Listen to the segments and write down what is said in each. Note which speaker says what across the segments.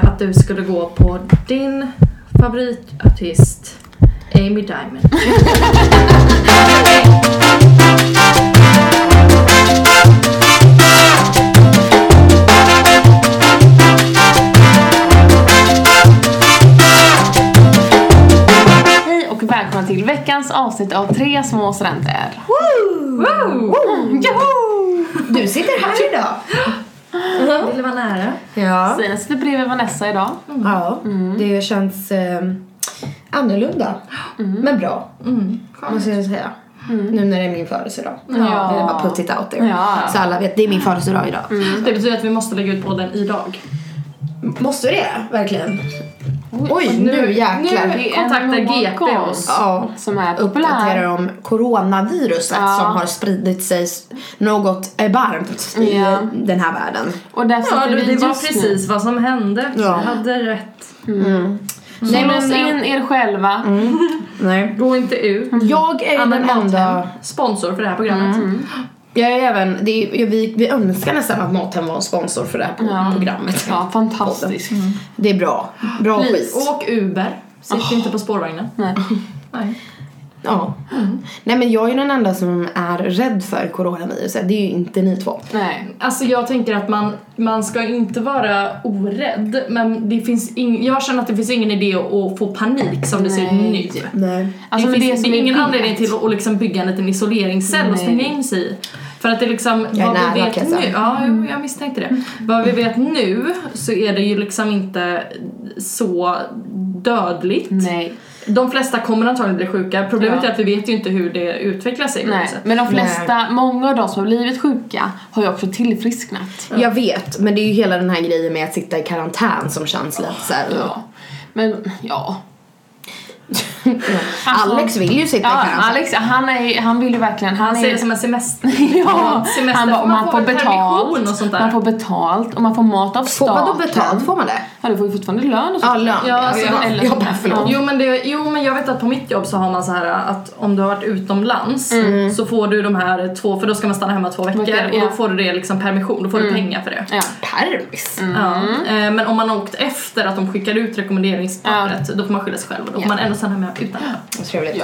Speaker 1: att du skulle gå på din favoritartist Amy Diamond.
Speaker 2: Hej och välkomna till veckans avsnitt av Tre små studenter.
Speaker 1: Woo!
Speaker 3: Du sitter här idag.
Speaker 1: Uh-huh. Vill du vara nära?
Speaker 3: Ja, Mm.
Speaker 2: Stina sitter bredvid Vanessa idag.
Speaker 3: ja. det känns eh, annorlunda. Men bra, Mm. måste jag säga. Nu när det är min födelsedag.
Speaker 2: Ja.
Speaker 3: Jag vill bara put it out there.
Speaker 2: Ja.
Speaker 3: Så alla vet, det är min födelsedag idag.
Speaker 1: Det betyder att vi måste lägga ut podden idag.
Speaker 3: Måste det verkligen? Oj, nu, jäklar.
Speaker 1: nu- kontaktar GP oss.
Speaker 3: Ja.
Speaker 2: Som är
Speaker 3: Uppdaterar
Speaker 2: populär.
Speaker 3: om coronaviruset
Speaker 2: Ja.
Speaker 3: som har spridit sig s- något erbarmt i
Speaker 2: Ja.
Speaker 3: den här världen.
Speaker 2: Och där sitter
Speaker 1: Ja,
Speaker 2: vi
Speaker 1: det var
Speaker 2: just nu.
Speaker 1: precis vad som hände.
Speaker 3: Ja.
Speaker 1: Jag hade rätt.
Speaker 2: Så
Speaker 3: Nej, men,
Speaker 2: lås in er själva.
Speaker 3: Mm. Nej.
Speaker 1: Gå inte ut.
Speaker 3: Jag är
Speaker 1: Anna
Speaker 3: Mm. den enda...
Speaker 1: Mathem, sponsor för det här programmet.
Speaker 3: Jag är även, det är, jag- vi, vi önskar nästan att Mathem var en sponsor för det här pro-
Speaker 2: Ja.
Speaker 3: programmet. Mm.
Speaker 2: Ja, fantastiskt.
Speaker 3: Det är bra. Bra
Speaker 1: Please,
Speaker 3: skit.
Speaker 1: åk Uber. Sitt inte på spårvagnen.
Speaker 2: Nej.
Speaker 1: Nej.
Speaker 3: Ja. Mm. Nej men jag är den enda som är rädd för coronaviruset. Det är ju inte ni två.
Speaker 2: Nej.
Speaker 1: Alltså jag tänker att man, man ska inte vara orädd men det finns ing, jag känner att det finns ingen idé att, att få panik som det ser ut
Speaker 2: Nej.
Speaker 1: nu.
Speaker 3: Nej.
Speaker 2: Alltså,
Speaker 1: det
Speaker 2: men
Speaker 1: finns
Speaker 2: som
Speaker 1: det är
Speaker 2: vi
Speaker 1: ingen
Speaker 2: vet-
Speaker 1: anledning till att, att liksom bygga en liten isoleringscell och
Speaker 2: Nej.
Speaker 1: stänga in sig i. För att det är liksom,
Speaker 3: är
Speaker 1: vad
Speaker 3: nära,
Speaker 1: vi vet
Speaker 3: kan jag
Speaker 1: nu,
Speaker 3: säga.
Speaker 1: ja jo, jag misstänkte det. Vad vi vet nu så är det ju liksom inte så dödligt.
Speaker 2: Nej.
Speaker 1: De flesta kommer antagligen bli sjuka, problemet
Speaker 2: Ja.
Speaker 1: är att vi vet ju inte hur det utvecklar sig.
Speaker 2: Nej.
Speaker 1: Så-
Speaker 2: Men de flesta, många av de som har blivit sjuka har ju också tillfrisknat.
Speaker 3: Jag vet, men det är ju hela den här grejen med att sitta i karantän som känns lite såhär...
Speaker 2: Ja. Men ja. Alltså,
Speaker 3: Alex vill ju sitta i
Speaker 2: Ja,
Speaker 3: karantän.
Speaker 2: Alex han, är, han vill ju verkligen, han
Speaker 1: Man ser det
Speaker 2: är
Speaker 1: som en semester.
Speaker 2: Ja,
Speaker 1: semester,
Speaker 2: han bara,
Speaker 1: för man
Speaker 2: och man
Speaker 1: får
Speaker 2: får
Speaker 1: väl permission
Speaker 2: betalt,
Speaker 1: och sånt där.
Speaker 2: man får betalt och man får mat av
Speaker 3: Får
Speaker 2: staten.
Speaker 3: man då betalt? Får man det?
Speaker 2: Ja, du får ju fortfarande lön och sånt.
Speaker 3: Ja, lön.
Speaker 1: Ja, alltså,
Speaker 3: ja,
Speaker 2: eller-
Speaker 3: jag bara förlåt.
Speaker 1: Jo men, det, jo men jag vet att på mitt jobb så har man så här att om du har varit utomlands så får du de här två, för då ska man stanna hemma två veckor
Speaker 2: Veckor,
Speaker 1: och då
Speaker 2: ja.
Speaker 1: får du det liksom permission, då får du pengar för det.
Speaker 2: Ja.
Speaker 3: Permis?
Speaker 1: Ja. Eh, Men om man har åkt efter att de skickade ut rekommenderingspappret då får man skylla sig själv och då får
Speaker 2: Ja.
Speaker 1: man ändå stanna hemma utan lön.
Speaker 3: Vad trevligt.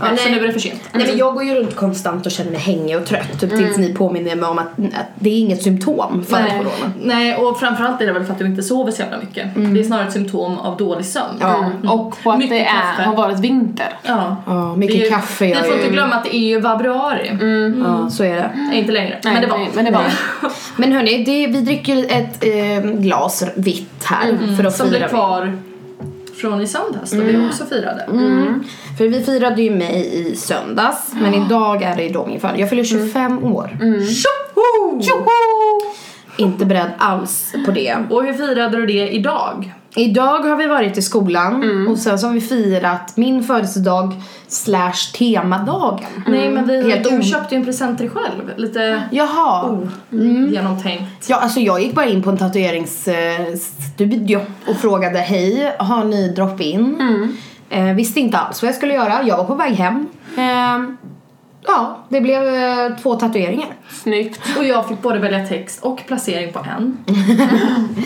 Speaker 1: Ja, så
Speaker 3: nej.
Speaker 1: nu är det för sent.
Speaker 3: Nej men jag går ju runt konstant och känner mig hängig och trött. Typ tills ni påminner mig om att, att det är inget symptom för
Speaker 1: Mm. Nej.
Speaker 3: corona.
Speaker 1: Nej och framförallt är det väl för att du inte sover så jävla mycket. Det är snarare ett symptom av dålig sömn.
Speaker 3: Ja.
Speaker 2: Och på att
Speaker 1: Mm. Mycket
Speaker 2: det är,
Speaker 1: kaffe.
Speaker 2: har varit vinter.
Speaker 1: Ja.
Speaker 3: Ja,
Speaker 1: Det är
Speaker 3: mycket
Speaker 1: ju,
Speaker 3: kaffe
Speaker 1: Ni
Speaker 3: gör
Speaker 1: får
Speaker 3: ju.
Speaker 1: inte glömma att det är ju februari.
Speaker 3: Ja, så är det.
Speaker 1: Nej, Inte längre,
Speaker 2: Nej,
Speaker 1: men det var.
Speaker 2: nej, men det var.
Speaker 3: Men hörni, det, vi dricker ju ett eh, glas vitt här för att
Speaker 1: Mm. Som blev
Speaker 3: fira.
Speaker 1: kvar från i söndags då vi också firade.
Speaker 3: Mm. För vi firade ju mig i söndags, men idag är det ju då min födelsedag. Jag fyller 25 år.
Speaker 1: Mm. Tjoho!
Speaker 3: Inte beredd alls på det.
Speaker 1: Och hur firade du det idag?
Speaker 3: Idag har vi varit i skolan
Speaker 1: Mm.
Speaker 3: och sen så har vi firat min födelsedag slash temadagen.
Speaker 1: Nej men vi,
Speaker 3: Helt
Speaker 1: du
Speaker 3: om-
Speaker 1: köpte ju en present till dig själv. Lite
Speaker 3: Jaha.
Speaker 1: Oh.
Speaker 3: Mm.
Speaker 1: genomtänkt.
Speaker 3: Ja, alltså jag gick bara in på en tatueringsstudio och frågade hej, har ni drop-in? Eh, visste inte alls vad jag skulle göra, jag var på väg hem. Eh, ja, det blev eh, två tatueringar.
Speaker 2: Snyggt.
Speaker 1: Och jag fick både välja text och placering på en.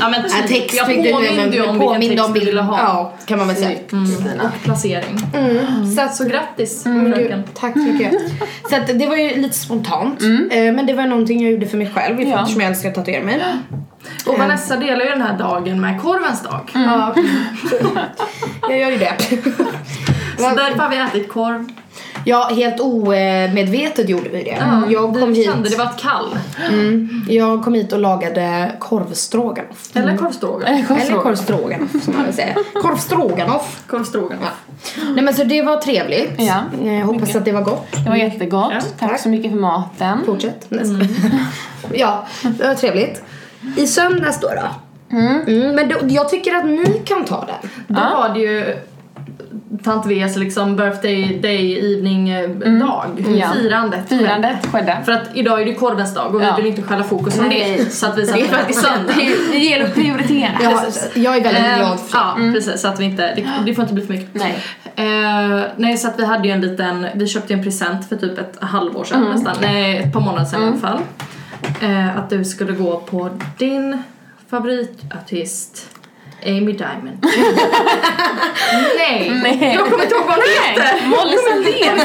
Speaker 1: ja men
Speaker 3: Ja,
Speaker 1: typ, jag
Speaker 3: fick du, men-
Speaker 1: påminde ju om vilken
Speaker 3: påminde
Speaker 1: text du
Speaker 3: bild-
Speaker 1: ville ha.
Speaker 3: Ja, kan man väl säga.
Speaker 2: Mm. Stina.
Speaker 1: Och placering.
Speaker 3: Mm. Så, att,
Speaker 1: Så grattis
Speaker 3: men
Speaker 1: fröken.
Speaker 3: gud, tack så mycket. så att, det var ju lite spontant, eh, men det var någonting jag gjorde för mig själv
Speaker 2: Ja.
Speaker 3: eftersom jag älskar att tatuera mig.
Speaker 1: Och Vanessa delar ju den här dagen med korvens dag.
Speaker 3: Ja, jag gör ju det.
Speaker 1: Så därför har vi ätit korv.
Speaker 3: Ja, helt omedvetet gjorde vi det. Mm, jag kom
Speaker 1: Vi
Speaker 3: hit Mm.
Speaker 1: kände det var ett kall.
Speaker 3: Jag kom hit och lagade korvstroganoff.
Speaker 1: Eller korvstrågan.
Speaker 2: Eller
Speaker 3: Eller korvstroganoff som man vill säga. Korvstroganoff.
Speaker 1: Korvstrågan.
Speaker 3: Ja. Nej men så det var trevligt.
Speaker 2: Ja.
Speaker 3: Eh, hoppas att det var gott.
Speaker 2: Det var jättegott.
Speaker 1: Ja,
Speaker 2: tack.
Speaker 3: tack.
Speaker 2: så mycket för maten.
Speaker 3: Fortsätt. Nej, jag skojar. ja, det var trevligt. I söndags då då? Mm, men då, jag tycker att ni kan ta den.
Speaker 1: Då var det ju tant V's liksom birthday day evening eh, dag.
Speaker 2: Ja.
Speaker 1: Firandet.
Speaker 2: Firandet skedde.
Speaker 1: För att idag är det korvens dag och
Speaker 2: Ja.
Speaker 1: vi vill inte stjäla fokus från
Speaker 2: Nej.
Speaker 1: det. Så att vi satte
Speaker 3: Det är
Speaker 1: det till söndag.
Speaker 2: Det gäller att prioritera.
Speaker 3: Jag, jag är väldigt
Speaker 1: Ehm,
Speaker 3: glad för det.
Speaker 1: Ja, precis. Så att vi inte, det, det får inte bli för mycket.
Speaker 2: Nej.
Speaker 1: Eh, nej, så att vi hade ju en liten, vi köpte ju en present för typ ett halvår sedan nästan. Nej, ett par månader sedan i alla fall. Ehm, Eh, att du skulle gå på din favoritartist Amy Diamond. Nej.
Speaker 2: Nej.
Speaker 1: Jag kommer inte ihåg vad hon heter. Molly
Speaker 2: Molly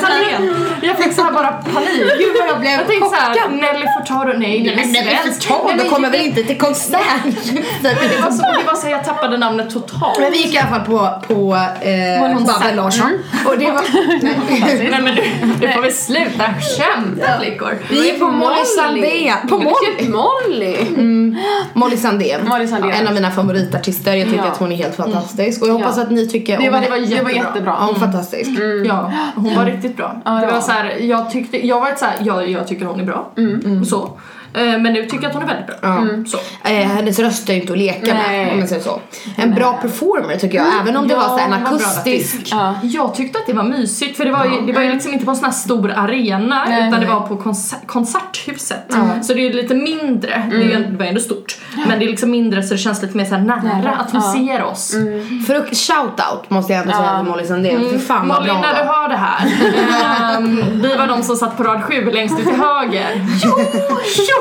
Speaker 1: Sandén.
Speaker 3: Jag fick såhär bara panik. Gud vad jag blev
Speaker 1: Jag tänkte såhär, Nelly Furtado, nej den är svensk. Nej, men
Speaker 3: Då kommer
Speaker 1: det-
Speaker 3: väl inte till konsert?
Speaker 1: Det var, så, det var så här, jag tappade namnet totalt.
Speaker 3: Men vi gick i alla fall på, på eh,
Speaker 2: Hon
Speaker 3: Babben
Speaker 2: satt-
Speaker 3: Larsson.
Speaker 2: Mm.
Speaker 3: Och det var... Nej.
Speaker 1: Nej men du, du får väl sluta skämta flickor.
Speaker 3: Vi gick på Molly Sandén. På Molly.
Speaker 2: Vilken Molly!
Speaker 3: Molly Sandén.
Speaker 2: Molly Sandén.
Speaker 3: En av mina favoritartister. Jag tycker
Speaker 2: Ja. Mm.
Speaker 3: att hon är helt fantastisk. Och jag hoppas
Speaker 2: Ja.
Speaker 3: att ni tycker
Speaker 2: Det
Speaker 3: om
Speaker 2: var- Mm.
Speaker 3: henne.
Speaker 2: det var jättebra.
Speaker 3: Ja, hon är fantastisk.
Speaker 1: Ja, hon var riktigt bra.
Speaker 2: Ja,
Speaker 1: det
Speaker 2: ja.
Speaker 1: var Mm, så här, jag tyckte, jag var så här, ja, jag tycker hon är bra. Så. Eh, Men nu tycker jag att hon är väldigt bra.
Speaker 3: Ja.
Speaker 1: Så.
Speaker 3: Eh, hennes röst är ju inte att leka
Speaker 2: mm.
Speaker 3: med
Speaker 2: Nej. Mm.
Speaker 3: om man säger så. En bra performer tycker jag, även om det
Speaker 1: Ja,
Speaker 3: var så här en
Speaker 1: hon var bra
Speaker 3: akustisk.
Speaker 2: Ja.
Speaker 1: Jag tyckte att det var mysigt för det var ju, det var ju liksom inte på en sån här stor arena
Speaker 2: Nej,
Speaker 1: utan det
Speaker 2: nej.
Speaker 1: var på konser- konserthuset. Så det är ju lite mindre, det, är ju, det var ju ändå stort. Men det är liksom mindre så det känns lite mer så här nära
Speaker 2: Nära,
Speaker 1: att hon
Speaker 2: ja.
Speaker 1: ser oss.
Speaker 3: För att shout-out måste jag ändå
Speaker 2: Mm. Ja.
Speaker 3: säga
Speaker 2: Mm.
Speaker 3: till Molly Sandén. Fy fan vad
Speaker 1: Molly
Speaker 3: bra hon
Speaker 1: när du
Speaker 3: var.
Speaker 1: hör det här, ehm, vi var de som satt på rad 7 längst ut till höger. Jo, jo!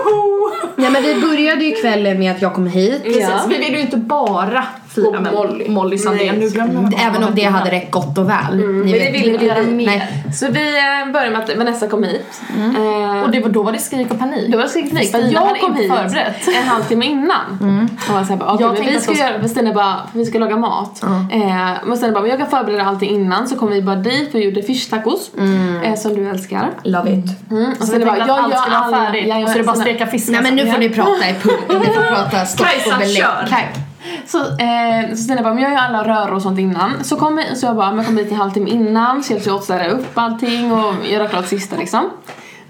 Speaker 3: Nej men vi började ju kvällen med att jag kom hit.
Speaker 1: Precis,
Speaker 2: Ja.
Speaker 1: vi vill ju inte bara fira
Speaker 2: Och
Speaker 1: med Molly,
Speaker 2: Molly.
Speaker 1: Sandén.
Speaker 2: Nej.
Speaker 1: Nu glömde jag
Speaker 3: Även om det hade räckt gott och väl. Ni
Speaker 2: Mm. Men det ville vi göra mer.
Speaker 3: Nej.
Speaker 2: Så vi eh, började med att Vanessa kom hit. Eh,
Speaker 1: Och det var, då var det skrik och panik.
Speaker 2: det var så teknik, för
Speaker 1: Stina hade
Speaker 2: jag kom
Speaker 1: inte
Speaker 2: hit
Speaker 1: förberett.
Speaker 2: en halvtimme innan. Och var så här, bara, okay,
Speaker 1: Jag
Speaker 2: men
Speaker 1: tänkte
Speaker 2: vi
Speaker 1: att
Speaker 2: ska
Speaker 1: de ska-
Speaker 2: göra, för Stina bara, för vi ska laga mat. Eh, men Stina bara, men jag kan förbereda allting innan så kom vi bara dit och gjorde fish tacos. Eh, som du älskar.
Speaker 3: Love it.
Speaker 2: Mm. Och
Speaker 1: Så jag
Speaker 2: Stina bara,
Speaker 1: tänkte
Speaker 2: jag
Speaker 1: att allt
Speaker 2: gör
Speaker 1: skulle vara
Speaker 2: alla.
Speaker 1: färdigt och så är det bara att steka fisk.
Speaker 3: Nej men nu
Speaker 1: nästan.
Speaker 3: får ni prata i punkt. Ni får prata stopp
Speaker 1: Kajsa,
Speaker 3: och belägg.
Speaker 1: kör.
Speaker 3: Kaj.
Speaker 2: Så, eh, så Stina bara, men jag gör alla rör och sånt innan. Så, kom, så jag bara, men jag kommer hit en halvtimme innan, så hjälps jag åt att städa upp allting och göra klart sista liksom.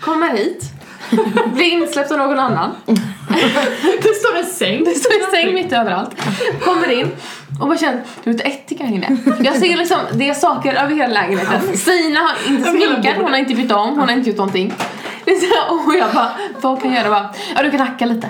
Speaker 2: Kommer hit, blir insläppt av någon annan.
Speaker 1: Det står en säng.
Speaker 2: Det står en säng mitt överallt. Kommer in och bara känner, du vet ättika här inne. Jag ser liksom, det är saker över hela lägenheten. Sina har inte
Speaker 1: Över hela
Speaker 2: sminkat, hon har inte bytt om, hon har inte gjort någonting. Det är så här, och jag bara, vad kan jag göra? Jag Bara, ja du kan hacka lite.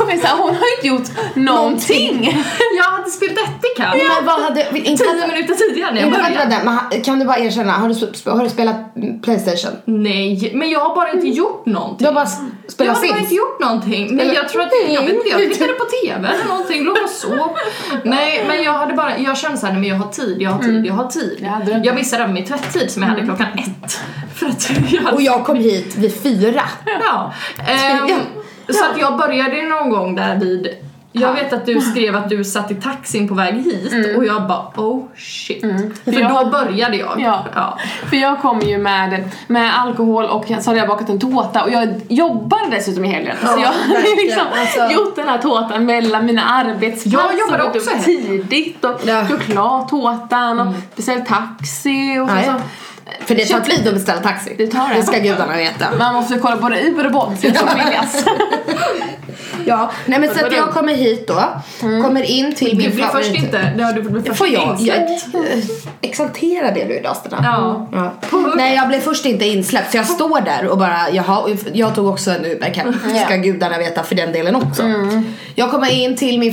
Speaker 2: Och det är så här, hon har inte gjort någonting.
Speaker 1: Jag hade spelat ättika
Speaker 3: Men vad hade... Inte
Speaker 1: tio minuter tidigare när jag
Speaker 3: inte för att vara
Speaker 1: började.
Speaker 3: där, men ha- kan du bara erkänna, har du, sp- har du spelat Playstation?
Speaker 1: Nej, men jag har bara inte gjort
Speaker 3: Du
Speaker 1: någonting.
Speaker 3: har bara s-
Speaker 1: Mm. Jag
Speaker 3: spelat
Speaker 1: har bara
Speaker 3: Sims?
Speaker 1: inte gjort någonting. Nej,
Speaker 3: Eller-
Speaker 1: jag tror att jag vet inte, jag tittade på TV eller någonting, låg och sov. Nej, men jag hade bara, jag kände såhär, nej men jag har tid, jag har tid, jag har tid.
Speaker 2: Mm. Jag hade Mm. det.
Speaker 1: Jag missade även min tvätttid som jag hade klockan ett. För att jag hade
Speaker 3: Och jag kom hit vid fyra.
Speaker 1: Ja. ehm,
Speaker 3: Ja.
Speaker 1: Så att jag började ju någon gång där vid jag vet att du skrev att du satt i taxin på väg hit och jag bara oh shit. För
Speaker 2: Jag-
Speaker 1: då började jag.
Speaker 2: Ja. För jag kom ju med, med alkohol och så hade jag bakat en tårta och jag jobbar dessutom i helgen. så jag hade
Speaker 3: verkligen.
Speaker 2: liksom
Speaker 3: Alltså-
Speaker 2: gjort den här tårtan mellan mina arbetspass
Speaker 1: Jag jobbar
Speaker 2: och gått
Speaker 1: också
Speaker 2: upp
Speaker 1: i helgen.
Speaker 2: tidigt och
Speaker 3: Ja.
Speaker 2: gjort klart tårtan och beställt taxi och så,
Speaker 3: Ja,
Speaker 2: så.
Speaker 3: ja. För det tar tid att beställa taxi.
Speaker 2: Det tar det.
Speaker 3: Det ska gudarna veta.
Speaker 2: Man måste kolla både Uber och Bolt så det ska billigast.
Speaker 3: Ja, nej men så att jag kommer hit då, kommer in till
Speaker 1: Mm. Du
Speaker 3: min
Speaker 1: blir först inte, ja, du blir först
Speaker 3: Får jag?
Speaker 1: inte
Speaker 3: jag
Speaker 1: insläppt.
Speaker 3: eh, exalterad är du idag Stina.
Speaker 1: Ja.
Speaker 3: Ja. Nej jag blev först inte insläppt så jag står där och bara jaha, och jag tog också en Uber kan ska gudarna veta för den delen också. Jag kommer in till min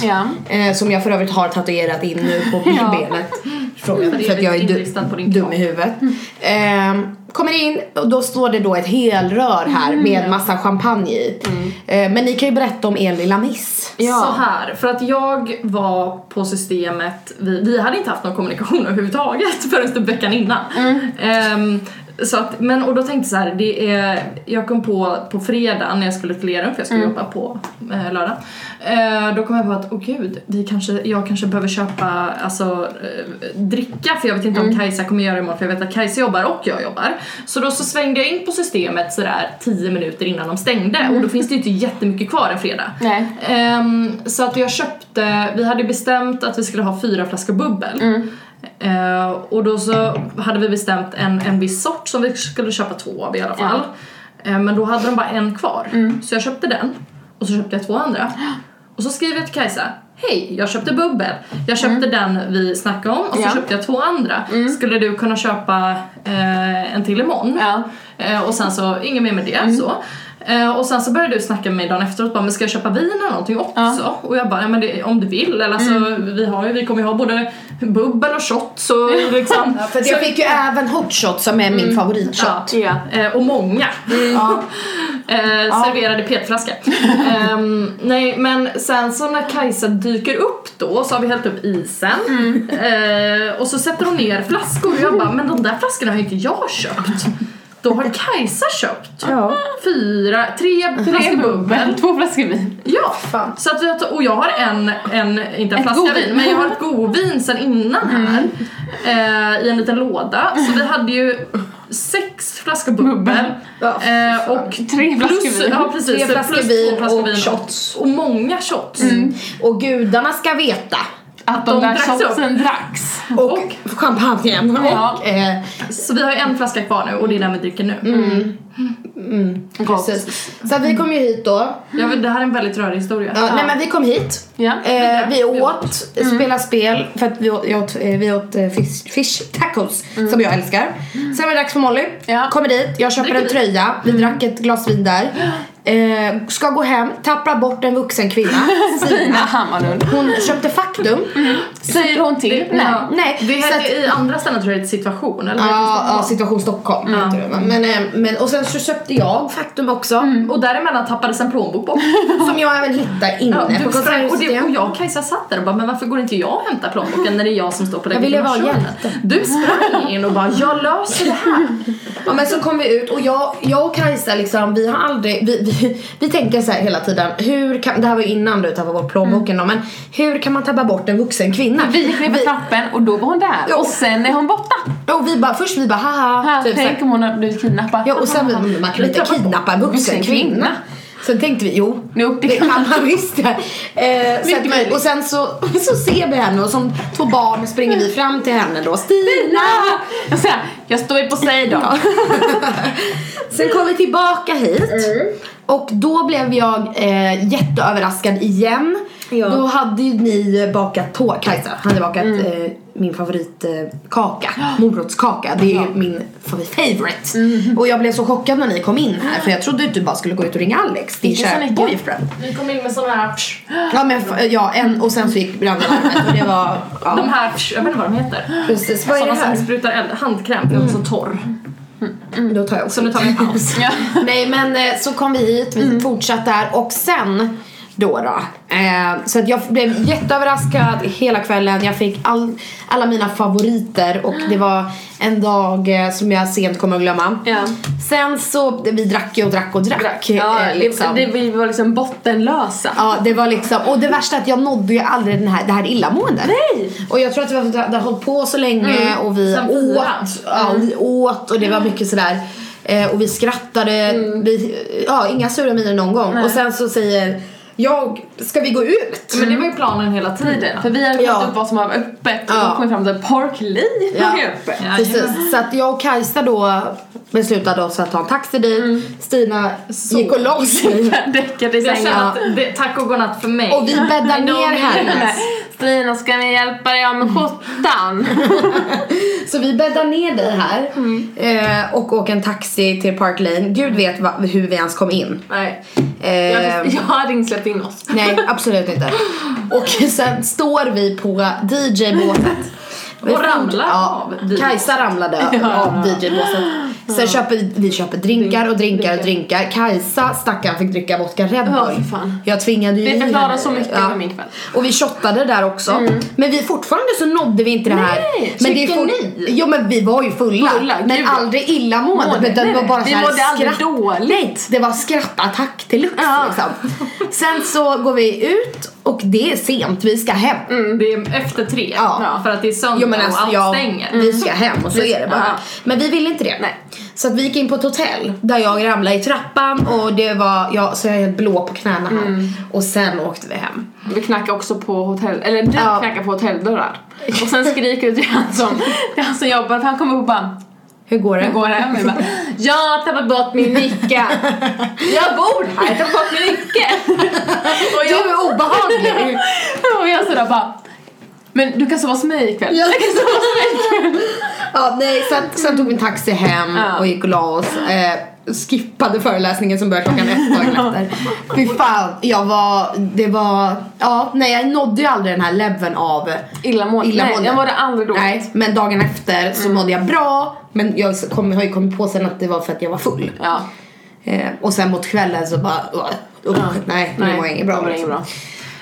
Speaker 2: Mm. Ja.
Speaker 3: eh, som jag för övrigt har tatuerat in nu på
Speaker 2: Ja.
Speaker 3: benet. Frågan,
Speaker 1: För
Speaker 3: för att jag är
Speaker 1: evigt
Speaker 3: du,
Speaker 1: inristad på din
Speaker 3: dum
Speaker 1: kropp.
Speaker 3: i huvudet. Ehm, kommer in och då står det då ett helrör här
Speaker 2: Mm.
Speaker 3: med massa champagne i. Ehm, men ni kan ju berätta om er lilla miss.
Speaker 2: Ja.
Speaker 1: Så här, för att jag var på systemet, vi, vi hade inte haft någon kommunikation överhuvudtaget förrän typ veckan innan. Ehm, så att, men, och då tänkte jag så här, det är, jag kom på på fredag när jag skulle till Lerum för jag skulle jobba på eh, lördag. Eh, då kom jag på att, åh gud, vi kanske, jag kanske behöver köpa alltså, eh, dricka för jag vet inte om Kajsa kommer göra det imorgon för jag vet att Kajsa jobbar och jag jobbar. Så då så svängde jag in på systemet sådär 10 minuter innan de stängde och då finns det ju inte jättemycket kvar en fredag.
Speaker 2: Nej.
Speaker 1: Ehm, så att jag köpte, vi hade bestämt att vi skulle ha fyra flaskor bubbel. Eh, och då så hade vi bestämt en, en viss sort som vi skulle köpa två av i alla fall. Eh, men då hade de bara en kvar. Så jag köpte den och så köpte jag två andra. Och så skriver jag till Kajsa Hej, jag köpte bubbel. Jag köpte den vi snackade om och så
Speaker 2: Ja.
Speaker 1: köpte jag två andra. Skulle du kunna köpa eh, en till imorgon?
Speaker 2: Ja.
Speaker 1: Eh, och sen så, inget mer med det så. Eh, och sen så började du snacka med mig dagen efteråt bara, men ska jag köpa vin eller någonting också? Och jag bara, ja men det, om du vill eller alltså, vi, har ju, vi kommer ju ha både bubbel och shot så liksom.
Speaker 3: För att jag fick ju även hot shot som är
Speaker 2: Mm.
Speaker 3: min favoritshot.
Speaker 1: Ja. Eh, och många. eh, Serverade petflaska. Ehm, nej men sen så när Kajsa dyker upp då så har vi hällt upp isen eh, och så sätter hon ner flaskor och jag bara men de där flaskorna har ju inte jag köpt. Då har Kajsa köpt
Speaker 3: Ja.
Speaker 1: fyra, tre flaskor bubbel.
Speaker 2: Två flaskor vin.
Speaker 1: Ja,
Speaker 3: Fan.
Speaker 1: så att jag, tar- och jag har en, en inte en
Speaker 2: Ett
Speaker 1: flaska
Speaker 2: godvin.
Speaker 1: vin, men jag har ett godvin sen innan
Speaker 3: Mm.
Speaker 1: här eh, i en liten låda. Så vi hade ju sex flaskor bubbel
Speaker 2: Bubbel.
Speaker 3: Ja,
Speaker 1: eh, och
Speaker 2: Tre flaskor
Speaker 1: plus,
Speaker 2: vin.
Speaker 1: ja, precis,
Speaker 3: Tre flaskor
Speaker 1: plus
Speaker 3: vin
Speaker 1: två flaskor
Speaker 3: och
Speaker 1: vin
Speaker 3: shots. Mm.
Speaker 1: Och, och många shots.
Speaker 3: Och gudarna ska veta.
Speaker 2: Att de
Speaker 1: de
Speaker 2: där
Speaker 1: dracks upp.
Speaker 2: shotsen dracks.
Speaker 3: Och, champagnen.
Speaker 2: Ja.
Speaker 3: Och, eh,
Speaker 1: Så vi har ju en flaska kvar nu och det är den vi dricker nu.
Speaker 3: Mm.
Speaker 2: Gott.
Speaker 3: precis. Så att vi kom ju hit då.
Speaker 1: Jag vet, det här är en väldigt rörig historia.
Speaker 3: Ja, Nej men vi kom hit.
Speaker 2: Ja.
Speaker 3: Eh, vi
Speaker 1: vi
Speaker 3: åt, spelade spel, för att vi åt, jag åt, eh, vi åt eh, fish, fish tacos som jag älskar. Sen var det dags för Molly,
Speaker 2: Ja.
Speaker 3: kommer dit, jag köper
Speaker 1: Dricker
Speaker 3: en
Speaker 1: vi.
Speaker 3: tröja, vi drack ett glas vin där. Eh, ska gå hem, tappar bort en vuxen kvinna,
Speaker 2: Stina
Speaker 3: Stina.
Speaker 2: Hammarlund.
Speaker 3: Hon köpte faktum.
Speaker 2: Säger hon till?
Speaker 1: Det-
Speaker 2: Nej.
Speaker 1: ja.
Speaker 3: Nej,
Speaker 1: Det
Speaker 3: så
Speaker 1: heter,
Speaker 3: att-
Speaker 1: I andra ställen tror jag det är situation, eller?
Speaker 3: Ja, ja, situation Stockholm. heter det, va? Men, eh, men, och sen så köpte jag faktum också.
Speaker 1: Och däremellan tappades en plånbok bort.
Speaker 3: Som jag även hittade
Speaker 1: Ja,
Speaker 3: inne
Speaker 1: du
Speaker 3: på
Speaker 1: sprang, och, det, och
Speaker 3: Sveriges
Speaker 1: jag och Kajsa satt där och bara, men varför går inte jag och hämtar plånboken när det är jag som står på
Speaker 3: Jag ville vara
Speaker 1: legitimationen?
Speaker 3: hjälte.
Speaker 1: Du sprang in och bara, jag löser det här.
Speaker 3: Ja men så kom vi ut och jag, jag och Kajsa liksom, vi har aldrig, vi, vi, vi tänker så här hela tiden, hur kan, det här var ju innan du tappade bort plånboken då, men hur kan man tappa bort en vuxen kvinna?
Speaker 2: Vi gick ner för trappen och då var hon där.
Speaker 3: Ja.
Speaker 2: Och sen är hon borta.
Speaker 3: och vi bara, först vi bara haha,
Speaker 2: Här,
Speaker 3: typ så här.
Speaker 2: tänk om hon har blivit kidnappad.
Speaker 3: Ja och sen vi, man kan inte
Speaker 1: Tappa bort
Speaker 3: kidnappa en vuxen kvinna. Sen tänkte vi, jo
Speaker 2: Jo, det
Speaker 3: det
Speaker 2: kan
Speaker 3: kan man visst ja. eh, så att, vi-
Speaker 2: möjligt.
Speaker 3: Och sen så, så ser vi henne och som två barn springer vi fram till henne då, Stina!
Speaker 2: Jag, säger, jag står i Poseidon.
Speaker 3: Sen kom vi tillbaka hit
Speaker 1: Mm.
Speaker 3: och då blev jag eh, jätteöverraskad igen.
Speaker 1: Ja.
Speaker 3: Då hade ju ni bakat tå, Kajsa hade bakat
Speaker 1: Mm.
Speaker 3: eh, min favoritkaka, eh, kaka. morotskaka. Det är ju min favori- favorite.
Speaker 1: Mm.
Speaker 3: Och jag blev så chockad när ni kom in här för jag trodde att du typ bara skulle gå ut och ringa Alex, din
Speaker 2: Inte så
Speaker 3: kära
Speaker 2: mycket.
Speaker 3: boyfriend.
Speaker 1: Vi kom in med sådana här,
Speaker 3: Ja, men, f- ja en, och sen så gick brandalarmet och det var...
Speaker 1: de
Speaker 3: Ja,
Speaker 1: här, jag vet inte vad de heter.
Speaker 3: precis. Vad är det
Speaker 1: Sådana som
Speaker 3: här? Mm.
Speaker 1: sprutar eld, handkräm, för jag är så torr.
Speaker 3: Då tar jag också
Speaker 1: Så nu tar vi en paus. Mm.
Speaker 2: Ja.
Speaker 3: Nej men eh, så kom vi hit, vi fortsatte där och sen då då. Eh, så att jag blev jätteöverraskad hela kvällen. Jag fick all, alla mina favoriter och det var en dag eh, som jag sent kommer att glömma.
Speaker 2: Ja.
Speaker 3: Sen så, vi drack ju och drack och drack.
Speaker 2: Ja,
Speaker 3: eh, liksom.
Speaker 2: det, det, vi var liksom bottenlösa.
Speaker 3: Ja, det var liksom, och det värsta är att jag nådde ju aldrig den här, det här illamåendet.
Speaker 2: Nej!
Speaker 3: Och jag tror att det var för att det hade hållit på så länge och vi
Speaker 1: Mm. Sen fyra. Mm.
Speaker 3: åt, ja, vi åt och det var mycket sådär eh, och vi skrattade,
Speaker 1: Mm.
Speaker 3: vi, ja inga sura miner någon gång. Och sen så säger jag, ska vi gå ut?
Speaker 1: Men det var ju planen hela tiden.
Speaker 2: För vi hade kollat
Speaker 3: Ja.
Speaker 2: upp vad som var öppet och
Speaker 3: Ja.
Speaker 2: då kom vi fram till att Park Lee var ju öppet.
Speaker 1: Ja.
Speaker 3: Precis, så att jag och Kajsa då beslutade oss att ta en taxi dit.
Speaker 1: Mm.
Speaker 3: Stina gick och la sig.
Speaker 2: Däckade i
Speaker 1: Jag
Speaker 2: sängen.
Speaker 1: känner att det, tack och godnatt för mig.
Speaker 3: Och vi bäddar
Speaker 1: I don't
Speaker 3: ner henne.
Speaker 2: Stina ska ni hjälpa dig av med
Speaker 3: Mm.
Speaker 2: skjortan?
Speaker 3: Så vi bäddar ner dig här
Speaker 1: Mm.
Speaker 3: eh, och åker en taxi till Park Lane. Gud vet va, hur vi ens kom in.
Speaker 1: Nej.
Speaker 3: Eh,
Speaker 2: Jag, jag hade inte släppt in oss.
Speaker 3: Nej, absolut inte. Och sen står vi på DJ-båset. Vi
Speaker 1: Och ramlar
Speaker 3: ja,
Speaker 1: av DJ-båset.
Speaker 3: Kajsa ramlade av DJ-båset. Sen köper vi köper drinkar och drinkar och drinkar. Kajsa, stackarn, fick dricka vodka Red
Speaker 2: Ja,
Speaker 3: Bull.
Speaker 2: för fan.
Speaker 3: Jag tvingade ju
Speaker 2: Det
Speaker 3: i henne.
Speaker 2: förklarar så mycket
Speaker 3: Ja.
Speaker 2: om min kväll.
Speaker 3: Och vi shottade där också. Men vi fortfarande så nådde vi inte det här.
Speaker 2: Nej,
Speaker 3: men det är
Speaker 2: tycker
Speaker 3: fort-
Speaker 2: ni?
Speaker 3: Jo men vi var ju fulla.
Speaker 2: Fulla,
Speaker 3: men
Speaker 2: gud.
Speaker 3: aldrig illamående.
Speaker 2: Mående,
Speaker 3: Utan det
Speaker 2: nej,
Speaker 3: var bara
Speaker 2: nej. Vi
Speaker 3: så här
Speaker 2: mådde aldrig dåligt.
Speaker 3: Nej, det var skrattattack till lux
Speaker 2: Ja.
Speaker 3: liksom. Sen så går vi ut och det är sent, vi ska hem.
Speaker 1: Det är efter tre,
Speaker 3: Ja.
Speaker 1: för att det är söndag
Speaker 3: Jo men alltså,
Speaker 1: Mm. och allt
Speaker 3: ja,
Speaker 1: stänger.
Speaker 3: vi ska hem och så är det bara.
Speaker 2: Ja.
Speaker 3: Men vi ville inte det. Nej. Så att vi gick in på ett hotell där jag ramlade i trappan och det var, ja, så jag är helt blå på knäna här. Och sen åkte vi hem.
Speaker 2: Vi knackade också på hotell, eller du
Speaker 3: Ja.
Speaker 2: knackade på hotelldörrar. Och sen skriker du till han som, till han som jobbar, för han kommer upp och bara
Speaker 3: Hur går det?
Speaker 2: Hur går det? Och vi bara, Jag har tappat bort min nyckel. Jag bor här, jag har tappat bort min nyckel. Och
Speaker 3: Du är obehaglig!
Speaker 2: och jag sådär bara men du kan sova hos mig ikväll.
Speaker 3: Jag ska ja, nej, sen, sen tog vi en taxi hem
Speaker 2: Ja.
Speaker 3: och gick och la oss. Eh, skippade föreläsningen som började klockan ett dagen efter. Fy fan, jag var, det var, ja, nej jag nådde ju aldrig den här leveln av
Speaker 2: Illamående.
Speaker 3: illamående.
Speaker 2: Nej, jag mådde aldrig dåligt. Mm.
Speaker 3: Nej, men dagen efter så mådde jag bra. Men jag kom, har ju kommit på sen att det var för att jag var full.
Speaker 2: Ja.
Speaker 3: Eh, och sen mot kvällen så bara, uh, uh, nej, nu
Speaker 2: nej,
Speaker 3: mår jag inget bra.
Speaker 2: då var det
Speaker 3: liksom.
Speaker 2: inget bra.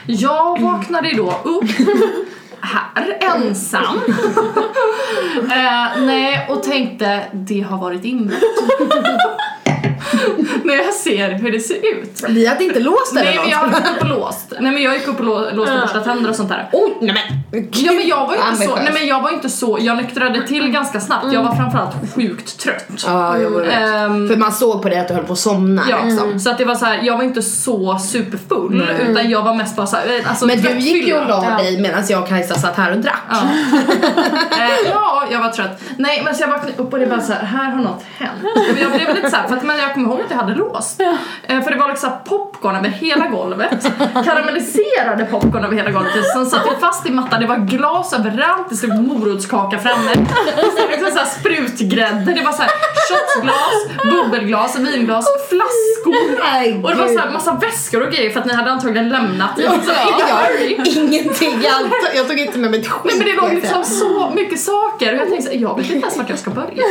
Speaker 1: Jag vaknade ju då upp här ensam. eh, nej, och tänkte det har varit inbrott. När jag ser hur det ser ut.
Speaker 3: Vi hade inte låst den
Speaker 1: Nej
Speaker 3: eller
Speaker 1: men
Speaker 3: något.
Speaker 1: jag gick upp och låst. Nej men jag gick upp och lå- låste och borstade tänder och sånt där.
Speaker 3: Oj, nej men!
Speaker 1: Ja men jag var ju inte så,
Speaker 3: Ambitiös.
Speaker 1: nej men jag var ju inte så, jag nyktrade till
Speaker 3: Mm.
Speaker 1: ganska snabbt. Jag var framförallt sjukt trött.
Speaker 3: Ja, jag var rädd.
Speaker 1: Ehm,
Speaker 3: För man såg på dig att du höll på att somna
Speaker 1: Ja, Mm.
Speaker 3: liksom. Mm.
Speaker 1: så att det var så här, jag var inte så superfull utan jag var mest bara så här, eh, alltså,
Speaker 3: Men du
Speaker 1: trött
Speaker 3: gick ju
Speaker 1: fylla.
Speaker 3: och la
Speaker 2: Ja.
Speaker 3: dig medan jag och Kajsa satt här och drack.
Speaker 1: Ja. Eh, ja, jag var trött. Nej, men så jag vaknade upp och det var så här, här har något hänt. Men jag blev lite så här, för att, men jag kommer ihåg att jag hade låst. Eh, för det var liksom så här popcorn över hela golvet. Karamelliserade popcorn över hela golvet. Sen satt jag fast i mattan, det var glas överallt, det stod morotskaka framme. Det stod liksom så här sprutgrädde, det var så här shotsglas, bubbelglas, vinglas, flaskor.
Speaker 3: Nej,
Speaker 1: Och det var så här massa väskor och grejer för att ni hade antagligen lämnat. i liksom, in a hurry.
Speaker 3: Ingenting, allt. jag tog inte med mig ett skit.
Speaker 1: Nej men det låg
Speaker 3: vet jag.
Speaker 1: liksom så mycket saker och jag tänkte såhär, jag vet inte ens vart jag ska börja.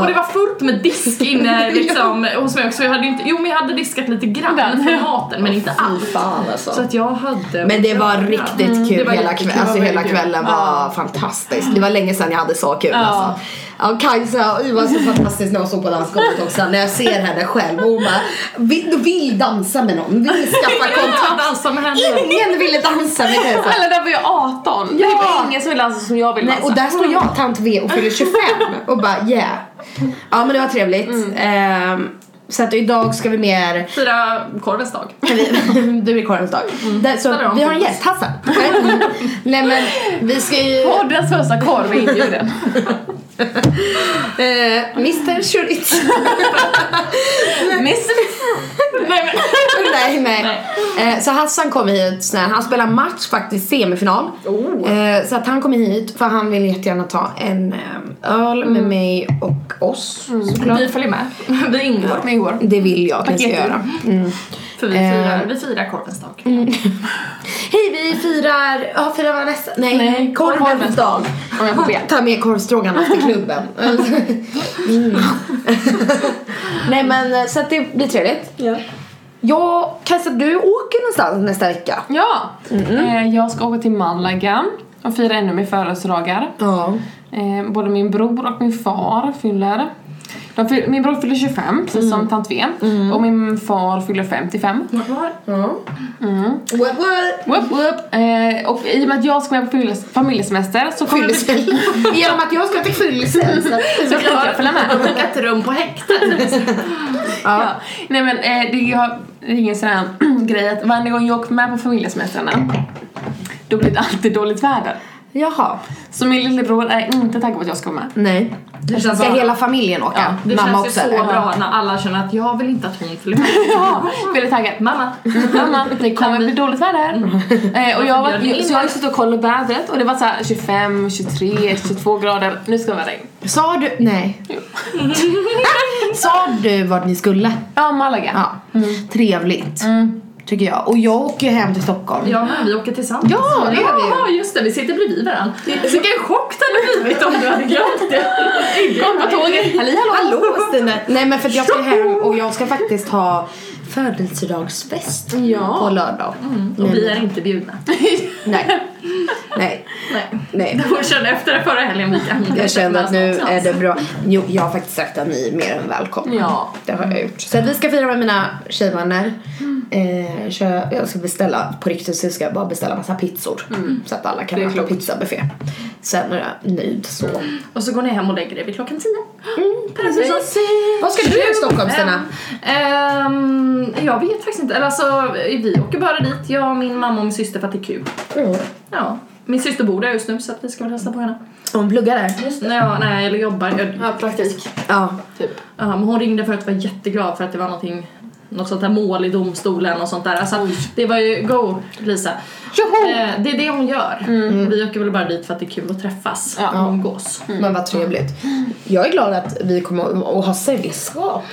Speaker 1: Och det var fullt med disk inne liksom, hos mig också. Jag hade ju inte, jo men jag hade diskat lite grann
Speaker 2: Den.
Speaker 1: för maten men inte allt.
Speaker 3: Fy fan alltså.
Speaker 1: Så att jag hade... Mm.
Speaker 3: Men det var riktigt kul,
Speaker 1: Det var
Speaker 3: hela,
Speaker 1: jättekul.
Speaker 3: kväll, alltså,
Speaker 1: Det var
Speaker 3: hela
Speaker 1: väldigt kul.
Speaker 3: kvällen var fantastisk. Det var länge sedan jag hade så kul
Speaker 2: Ja.
Speaker 3: alltså. Ja, Kajsa, det var så fantastiskt när hon såg på dansgolvet också. När jag ser henne själv och hon bara vill, vill dansa med någon, vill skaffa
Speaker 1: Jag
Speaker 3: kontakt.
Speaker 1: dansade med henne.
Speaker 3: Ingen ville dansa med Kajsa.
Speaker 2: Eller där var jag 18. Ja. Det var ingen som ville dansa som jag vill
Speaker 3: Nej,
Speaker 2: dansa.
Speaker 3: och där står jag, tant V, och fyller 25 och bara yeah. Ja men det var trevligt. Ehm, så att idag ska vi mer,
Speaker 1: Fira korvens dag.
Speaker 3: du är korvens dag. Där, så
Speaker 1: Där är hon.
Speaker 3: vi har en gäst, Hassan. Nej. Nej men vi ska ju,
Speaker 2: Poddens första korv är inbjuden.
Speaker 3: eh, Mr Shuritz.
Speaker 2: Miss... Nej men...
Speaker 3: nej nej. Eh, så Hassan kom hit snäll, han spelar match faktiskt, semifinal.
Speaker 1: Oh.
Speaker 3: Eh, så att han kom hit för han ville jättegärna ta en ehm, öl med mig och oss.
Speaker 1: Vi följer med. Vi ingår.
Speaker 2: Men igår.
Speaker 3: Det vill jag att ni ska
Speaker 2: Paketet.
Speaker 3: göra.
Speaker 1: För vi
Speaker 2: Eh.
Speaker 1: firar, vi firar korvens dag.
Speaker 2: Mm.
Speaker 3: Hej vi firar, ja firar vad nästa, nej,
Speaker 2: Nej,
Speaker 3: korvens
Speaker 2: korvens
Speaker 3: dag.
Speaker 2: Om jag får be.
Speaker 3: Ta med korvstroganoff till klubben. mm. nej men eh, så att det blir trevligt.
Speaker 2: Ja.
Speaker 3: Ja, Kajsa du åker någonstans nästa vecka.
Speaker 2: Ja! Eh, jag ska åka till Malaga och fira ännu mer födelsedagar.
Speaker 3: Ja.
Speaker 2: Eh, både min bror och min far fyller. De fyll, min bror fyller 25, precis
Speaker 1: Mm.
Speaker 2: som tant V. Och min far fyller 55.
Speaker 1: Vart var?
Speaker 3: ja.
Speaker 1: Mm.
Speaker 3: What, what?
Speaker 2: Whoop, whoop. Eh, och i och med att jag ska med på fylles- familjesemester så kommer det bli...
Speaker 3: Fyllecell. Genom att jag ska till fyllecell. så att-
Speaker 2: Så kan jag följa med.
Speaker 1: Ett rum på häktet.
Speaker 2: Ja. Nej men eh, det, jag, det är ingen sån här grej att varje gång jag åker med på familjesemestrarna då blir det alltid dåligt väder.
Speaker 3: Jaha.
Speaker 2: Så min lillebror är inte taggad på att jag ska vara med.
Speaker 3: Nej.
Speaker 1: Det känns
Speaker 3: Ska
Speaker 1: bra.
Speaker 3: hela familjen åka?
Speaker 1: Det
Speaker 3: Mamma
Speaker 1: känns ju
Speaker 3: också
Speaker 1: så
Speaker 3: eller?
Speaker 1: bra när alla känner att jag vill inte att hon följer med.
Speaker 2: Ja, väldigt taggad.
Speaker 1: Mamma.
Speaker 2: Mamma, det kommer bli dåligt väder. Eh, och jag, var,
Speaker 1: Bjöd in
Speaker 2: så jag har ju suttit och kollat vädret och det var så här 25, 23, 22 grader. Nu ska det vara regn.
Speaker 3: Sa du, nej.
Speaker 2: Jo.
Speaker 3: Sa du vad ni skulle?
Speaker 2: Ja, Malaga. Mm.
Speaker 3: Ja. Mm. Trevligt. Tycker jag. Och jag åker ju hem till Stockholm.
Speaker 1: Ja men vi åker tillsammans.
Speaker 3: Ja, det gör vi ju.
Speaker 1: Ja just det, vi sitter bredvid varandra. Vilken chock det hade blivit om du hade glömt det.
Speaker 2: Kom på tåget. Halli hallå.
Speaker 3: Hallå Stina! Nej men för att jag ska hem och jag ska faktiskt ha födelsedagsfest
Speaker 2: Ja.
Speaker 3: på lördag. Men-
Speaker 1: Och vi är inte bjudna.
Speaker 3: Nej. Nej.
Speaker 1: Nej.
Speaker 3: Nej.
Speaker 1: Hon kände efter det förra helgen vi kan inte
Speaker 3: Jag känner att nu
Speaker 1: tillsammans.
Speaker 3: är det bra. Jo, jag har faktiskt sagt att ni är mer än välkomna.
Speaker 2: Ja.
Speaker 3: Det har jag gjort. Så att vi ska fira med mina tjejvänner. Eh, kö- jag ska beställa, på riktigt så ska jag bara beställa massa pizzor. Så att alla kan
Speaker 2: Det är
Speaker 3: äta
Speaker 2: klokt.
Speaker 3: pizzabuffé. Sen är jag nöjd så.
Speaker 1: Och så går ni hem och lägger er vid klockan 10.
Speaker 3: Precis. Vad ska du göra i Stockholm Stina?
Speaker 1: Ehm, jag vet faktiskt inte. Eller alltså vi åker bara dit, jag, min mamma och min syster för att det är kul.
Speaker 3: Mm.
Speaker 1: Ja. Min syster bor där just nu så att vi ska väl hälsa på henne.
Speaker 3: Hon pluggar där.
Speaker 1: Nej, ja, nej eller jobbar. Jag,
Speaker 2: Ja, praktik.
Speaker 3: Ja.
Speaker 2: Typ.
Speaker 1: Ja, men hon ringde för att vara jätteglad för att det var någonting, något sånt här mål i domstolen och sånt där. Alltså, det var ju, go Lisa.
Speaker 2: Tjoho!
Speaker 1: Eh, det är det hon gör. Vi åker väl bara dit för att det är kul att träffas
Speaker 2: Ja.
Speaker 1: och umgås.
Speaker 3: Men vad trevligt. Jag är glad att vi kommer att att ha sällskap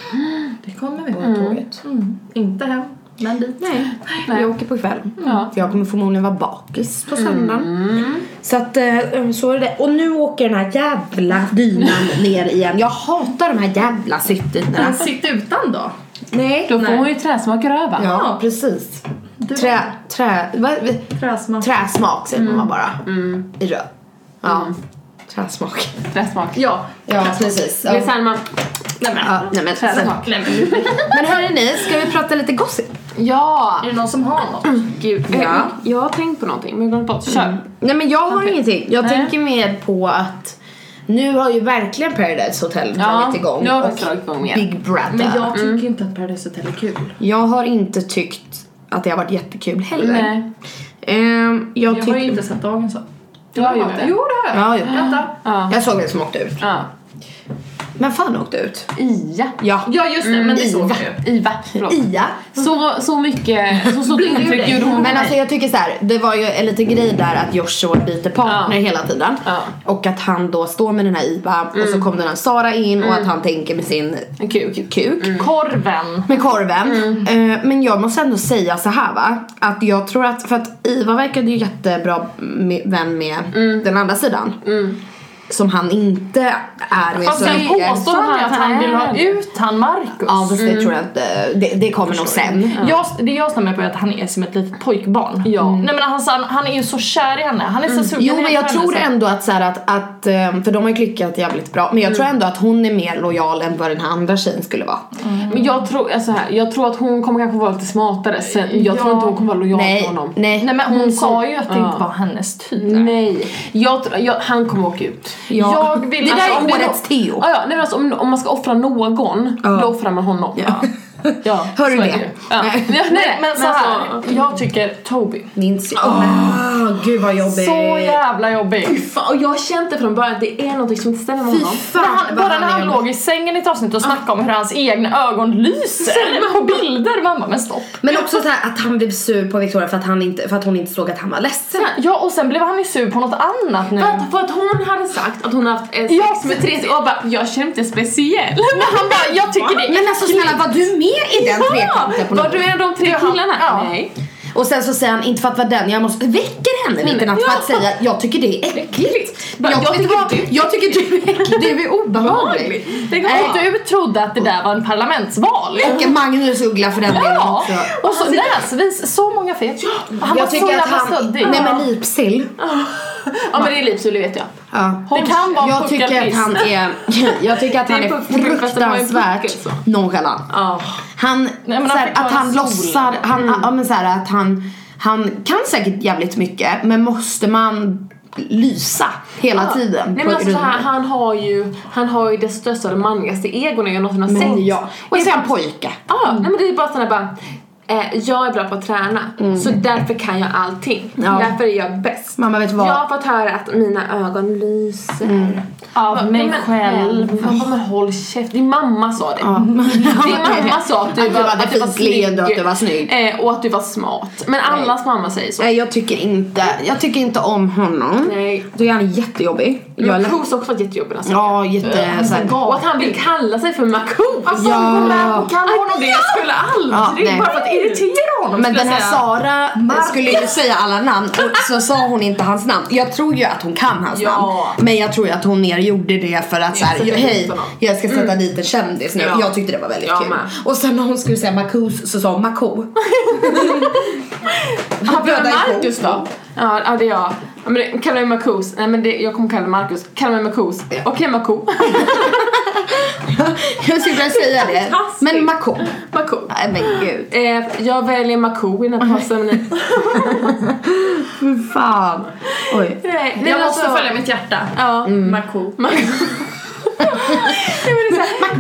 Speaker 1: Det kommer vi.
Speaker 3: på tåget.
Speaker 1: Mm. Inte hem, men dit.
Speaker 3: Nej,
Speaker 2: Nej.
Speaker 3: jag åker på kväll.
Speaker 2: Ja.
Speaker 3: För jag kommer förmodligen vara bakis på söndagen. Så att, eh, så är det. Och nu åker den här jävla dynan ner igen. Jag hatar de här jävla
Speaker 1: Men
Speaker 3: sittdynorna.
Speaker 1: sitt utan då.
Speaker 3: Nej.
Speaker 2: Då får
Speaker 1: Nej.
Speaker 2: hon ju träsmak i röven.
Speaker 3: Ja, precis.
Speaker 1: Du,
Speaker 3: Trä, trä... Vad,
Speaker 1: Träsmatt.
Speaker 3: träsmak säger man bara. I röd. Ja. Träsmak.
Speaker 2: Träsmak.
Speaker 1: Ja.
Speaker 3: Ja, precis.
Speaker 2: Det är såhär man...
Speaker 1: Nej men.
Speaker 3: Ja, nej men,
Speaker 2: Träsmak.
Speaker 1: Nej men.
Speaker 3: men hörni ni, ska vi prata lite gossip?
Speaker 2: Ja!
Speaker 1: Är det någon som har något?
Speaker 3: Mm.
Speaker 2: Gud. Mm.
Speaker 3: Ja.
Speaker 2: Eh, Jag, jag har tänkt på någonting men jag glömde bort. Kör.
Speaker 3: Nej men jag har ingenting. Jag
Speaker 2: Nej.
Speaker 3: tänker mer på att nu har ju verkligen Paradise Hotel dragit igång.
Speaker 2: nu har
Speaker 3: och
Speaker 2: vi dragit igång igen.
Speaker 3: Big Brother.
Speaker 1: Men jag
Speaker 3: Mm.
Speaker 1: tycker inte att Paradise Hotel är kul.
Speaker 3: Jag har inte tyckt att det har varit jättekul heller.
Speaker 2: Nej.
Speaker 3: Ehm, jag,
Speaker 1: Jag har ju
Speaker 3: tyckte...
Speaker 1: inte sett dagens så.
Speaker 2: Du har gjort det.
Speaker 1: Jo det har jag.
Speaker 3: Ja, ja.
Speaker 1: Vänta.
Speaker 2: Ja.
Speaker 3: Jag såg det som åkte ut.
Speaker 2: ja.
Speaker 3: Men fan åkte ut?
Speaker 2: Ia.
Speaker 3: Ja.
Speaker 1: Ja just det, men det
Speaker 3: Mm.
Speaker 1: såg jag ju.
Speaker 2: Iva. Förlåt.
Speaker 3: Ia.
Speaker 2: Så, så mycket, så stort
Speaker 1: Blir du
Speaker 2: intryck
Speaker 1: det?
Speaker 2: gjorde hon på
Speaker 3: Men alltså
Speaker 2: mig.
Speaker 3: jag tycker så här, det var ju en liten grej där att Joshua byter partner
Speaker 2: Ja.
Speaker 3: hela tiden.
Speaker 2: Ja.
Speaker 3: Och att han då står med den här Iva och så kom den här Sara in och att han tänker med sin
Speaker 2: Mm. En kuk.
Speaker 3: kuk.
Speaker 1: Mm. Korven.
Speaker 3: Med korven. Eh, men jag måste ändå säga så här va. Att jag tror att, för att Iva verkade ju jättebra med, vän med den andra sidan. Som han inte är med
Speaker 1: Fast
Speaker 3: så
Speaker 1: sen
Speaker 3: mycket.
Speaker 1: Alltså, påstår han ju att han vill ha ut han Marcus.
Speaker 3: Ja fast det tror jag inte, det, det kommer nog sen.
Speaker 1: Jag, det jag stämmer på är att han är som ett litet pojkbarn. Mm.
Speaker 2: Ja.
Speaker 1: Nej men han, han, han är ju så kär i henne. Han är så sugen
Speaker 3: Mm. Jo
Speaker 1: i
Speaker 3: men
Speaker 1: henne
Speaker 3: jag
Speaker 1: för
Speaker 3: tror
Speaker 1: henne, så-
Speaker 3: ändå att, så här, att, att eh, för de har ju klickat jävligt bra. Men jag tror ändå att hon är mer lojal än vad den här andra tjejen skulle vara.
Speaker 2: Men jag tror, alltså här, jag tror att hon kommer kanske vara lite smartare sen. Jag tror
Speaker 1: Ja.
Speaker 2: inte hon kommer vara lojal
Speaker 3: Nej,
Speaker 2: till honom.
Speaker 3: nej.
Speaker 1: Nej men hon, sa ju att det
Speaker 2: Ja.
Speaker 1: inte var hennes typ.
Speaker 2: Nej. Jag, tr- jag, han kommer åka ut.
Speaker 3: Ja.
Speaker 1: Jag vill-
Speaker 3: det där
Speaker 1: alltså,
Speaker 3: är
Speaker 1: om det-
Speaker 3: årets Theo.
Speaker 2: Ah, ja, nej, men alltså, om, om man ska offra någon, då offrar man honom.
Speaker 3: Ja.
Speaker 2: Ja,
Speaker 3: Hör du
Speaker 2: så är
Speaker 3: det?
Speaker 2: ju. Ja.
Speaker 3: Nej.
Speaker 2: Nej, nej,
Speaker 1: Nej, men så här,
Speaker 2: alltså,
Speaker 1: jag tycker Toby.
Speaker 3: Minns jag. Oh, gud vad jobbigt.
Speaker 1: Så jävla jobbig.
Speaker 2: Fan, och jag har känt det från början att det är någonting som inte stämmer med
Speaker 3: Fy
Speaker 2: honom.
Speaker 1: När
Speaker 3: fan
Speaker 1: han,
Speaker 3: vad
Speaker 1: bara när
Speaker 3: är
Speaker 1: han
Speaker 3: jobbig.
Speaker 1: låg i sängen i ett avsnitt och snackade om hur hans egna ögon lyser på bilder. Man bara, men stopp.
Speaker 3: Men också så här att han blev sur på Victoria för att, han inte, för att hon inte såg att han var ledsen.
Speaker 1: Ja och sen blev han ju sur på något annat nu.
Speaker 2: För att, för att hon hade sagt att hon haft eh, sex
Speaker 1: Ja,
Speaker 2: med tre och jag bara jag känner mig inte speciell.
Speaker 1: Men han bara, jag tycker det är
Speaker 3: Men alltså snälla var du med i den trekanten på
Speaker 2: Var
Speaker 3: något
Speaker 2: du en av de tre killarna?
Speaker 1: ja.
Speaker 2: Nej.
Speaker 3: Och sen så säger han inte för att vara den, jag måste väcker henne mitt i natten för att
Speaker 2: Ja.
Speaker 3: säga jag tycker det är äckligt.
Speaker 2: Bara, jag
Speaker 3: vet
Speaker 2: tycker
Speaker 3: vad,
Speaker 2: du-
Speaker 3: jag tycker du är äcklig, du är obehaglig.
Speaker 1: Tänk
Speaker 3: Nej.
Speaker 1: om du trodde att det där var en parlamentsval.
Speaker 3: Och Magnus Uggla för den delen
Speaker 1: Ja!
Speaker 3: också.
Speaker 1: Och så näsvis, så många fel. Han var
Speaker 3: Jag
Speaker 1: så
Speaker 3: tycker att
Speaker 1: jävla
Speaker 3: han,
Speaker 1: suddig.
Speaker 3: nej men lipsill.
Speaker 2: Ja men det är livsstilen vet jag.
Speaker 3: Ja.
Speaker 1: Det kan vara
Speaker 3: Jag tycker att han är, jag tycker att
Speaker 2: Det är
Speaker 3: han är
Speaker 2: puckel, fast det var en puckel,
Speaker 3: fruktansvärt
Speaker 2: så.
Speaker 3: nonchalant.
Speaker 2: Ja.
Speaker 3: Han,
Speaker 1: men han
Speaker 3: såhär,
Speaker 1: fick ta
Speaker 3: att
Speaker 1: en
Speaker 3: han
Speaker 1: sol.
Speaker 3: lossar, han,
Speaker 2: Mm.
Speaker 3: ja, men såhär, att han, han kan säkert jävligt mycket men måste man lysa hela tiden?
Speaker 2: Nej
Speaker 3: på
Speaker 2: men alltså så
Speaker 3: rummet?
Speaker 2: här, han har ju, han har ju det största och det manligaste egon jag någonsin har
Speaker 3: Men
Speaker 2: sett.
Speaker 3: ja.
Speaker 2: Och
Speaker 3: Och
Speaker 2: det
Speaker 3: så
Speaker 2: är
Speaker 3: är
Speaker 2: bara,
Speaker 3: han Mm. pojke.
Speaker 2: ah, nej men det är bara sådana bara, eh, jag är bra på att träna så därför kan jag allting.
Speaker 3: Mm. Ja.
Speaker 2: Därför är jag bäst.
Speaker 3: Mamma vet vad. Mm.
Speaker 2: Jag har fått höra att mina ögon lyser.
Speaker 1: Av mig
Speaker 2: Men-
Speaker 1: själv.
Speaker 2: Man bara, men håll käft. Din mamma sa det. Din mamma sa att du,
Speaker 3: Att du
Speaker 2: var,
Speaker 3: hade
Speaker 2: typ, att du var
Speaker 3: fisgled och
Speaker 2: snygg.
Speaker 3: att du var snygg.
Speaker 2: Eh, och att du var smart. Men allas mamma säger så.
Speaker 3: Nej jag tycker inte, jag tycker inte om honom.
Speaker 2: Nej. Mm.
Speaker 3: Då är han jättejobbig. Jag är
Speaker 2: Jag
Speaker 3: lätt-
Speaker 2: har också varit jättejobbig alltså.
Speaker 3: Ja jätte såhär.
Speaker 2: Och att han vill kalla sig för Markoolio.
Speaker 1: Alltså
Speaker 3: Ja.
Speaker 1: hon går med på kalla honom det jag skulle
Speaker 3: Ja,
Speaker 1: aldrig.
Speaker 3: nej.
Speaker 1: bara för att irritera honom
Speaker 3: Men
Speaker 1: skulle
Speaker 3: den här
Speaker 1: jag säga.
Speaker 3: Sara eh, skulle ju säga alla namn och så sa hon inte hans namn. Jag tror ju att hon kan hans
Speaker 2: Ja.
Speaker 3: namn. Men jag tror ju att hon mer gjorde det för att såhär,
Speaker 2: sätta dit
Speaker 3: hej
Speaker 2: honom."
Speaker 3: jag ska sätta dit en kändis nu.
Speaker 2: Ja.
Speaker 3: Jag tyckte det var väldigt
Speaker 2: Jag
Speaker 3: kul.
Speaker 2: med.
Speaker 3: Och sen när hon skulle säga Marcus så sa hon Marco.
Speaker 2: Han
Speaker 3: Bröda
Speaker 2: kallar
Speaker 3: ihop.
Speaker 2: Marcus då? Ja, ja det är jag. Ja, men det, kalla mig Marcus. Nej men det, jag kommer kalla mig Marcus. Kalla mig Marcus. Okej Marco.
Speaker 3: Jag skulle säga det.
Speaker 2: Fantastiskt.
Speaker 3: Men Marco.
Speaker 2: Marco.
Speaker 3: Nej men gud.
Speaker 2: Eh, jag väljer Marco i den här passen.
Speaker 3: Fy fan. Oj.
Speaker 2: Nej, nej,
Speaker 1: Jag
Speaker 2: men
Speaker 1: måste
Speaker 2: alltså- Mm.
Speaker 1: följa mitt hjärta.
Speaker 2: Ja.
Speaker 1: Marco.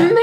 Speaker 2: Men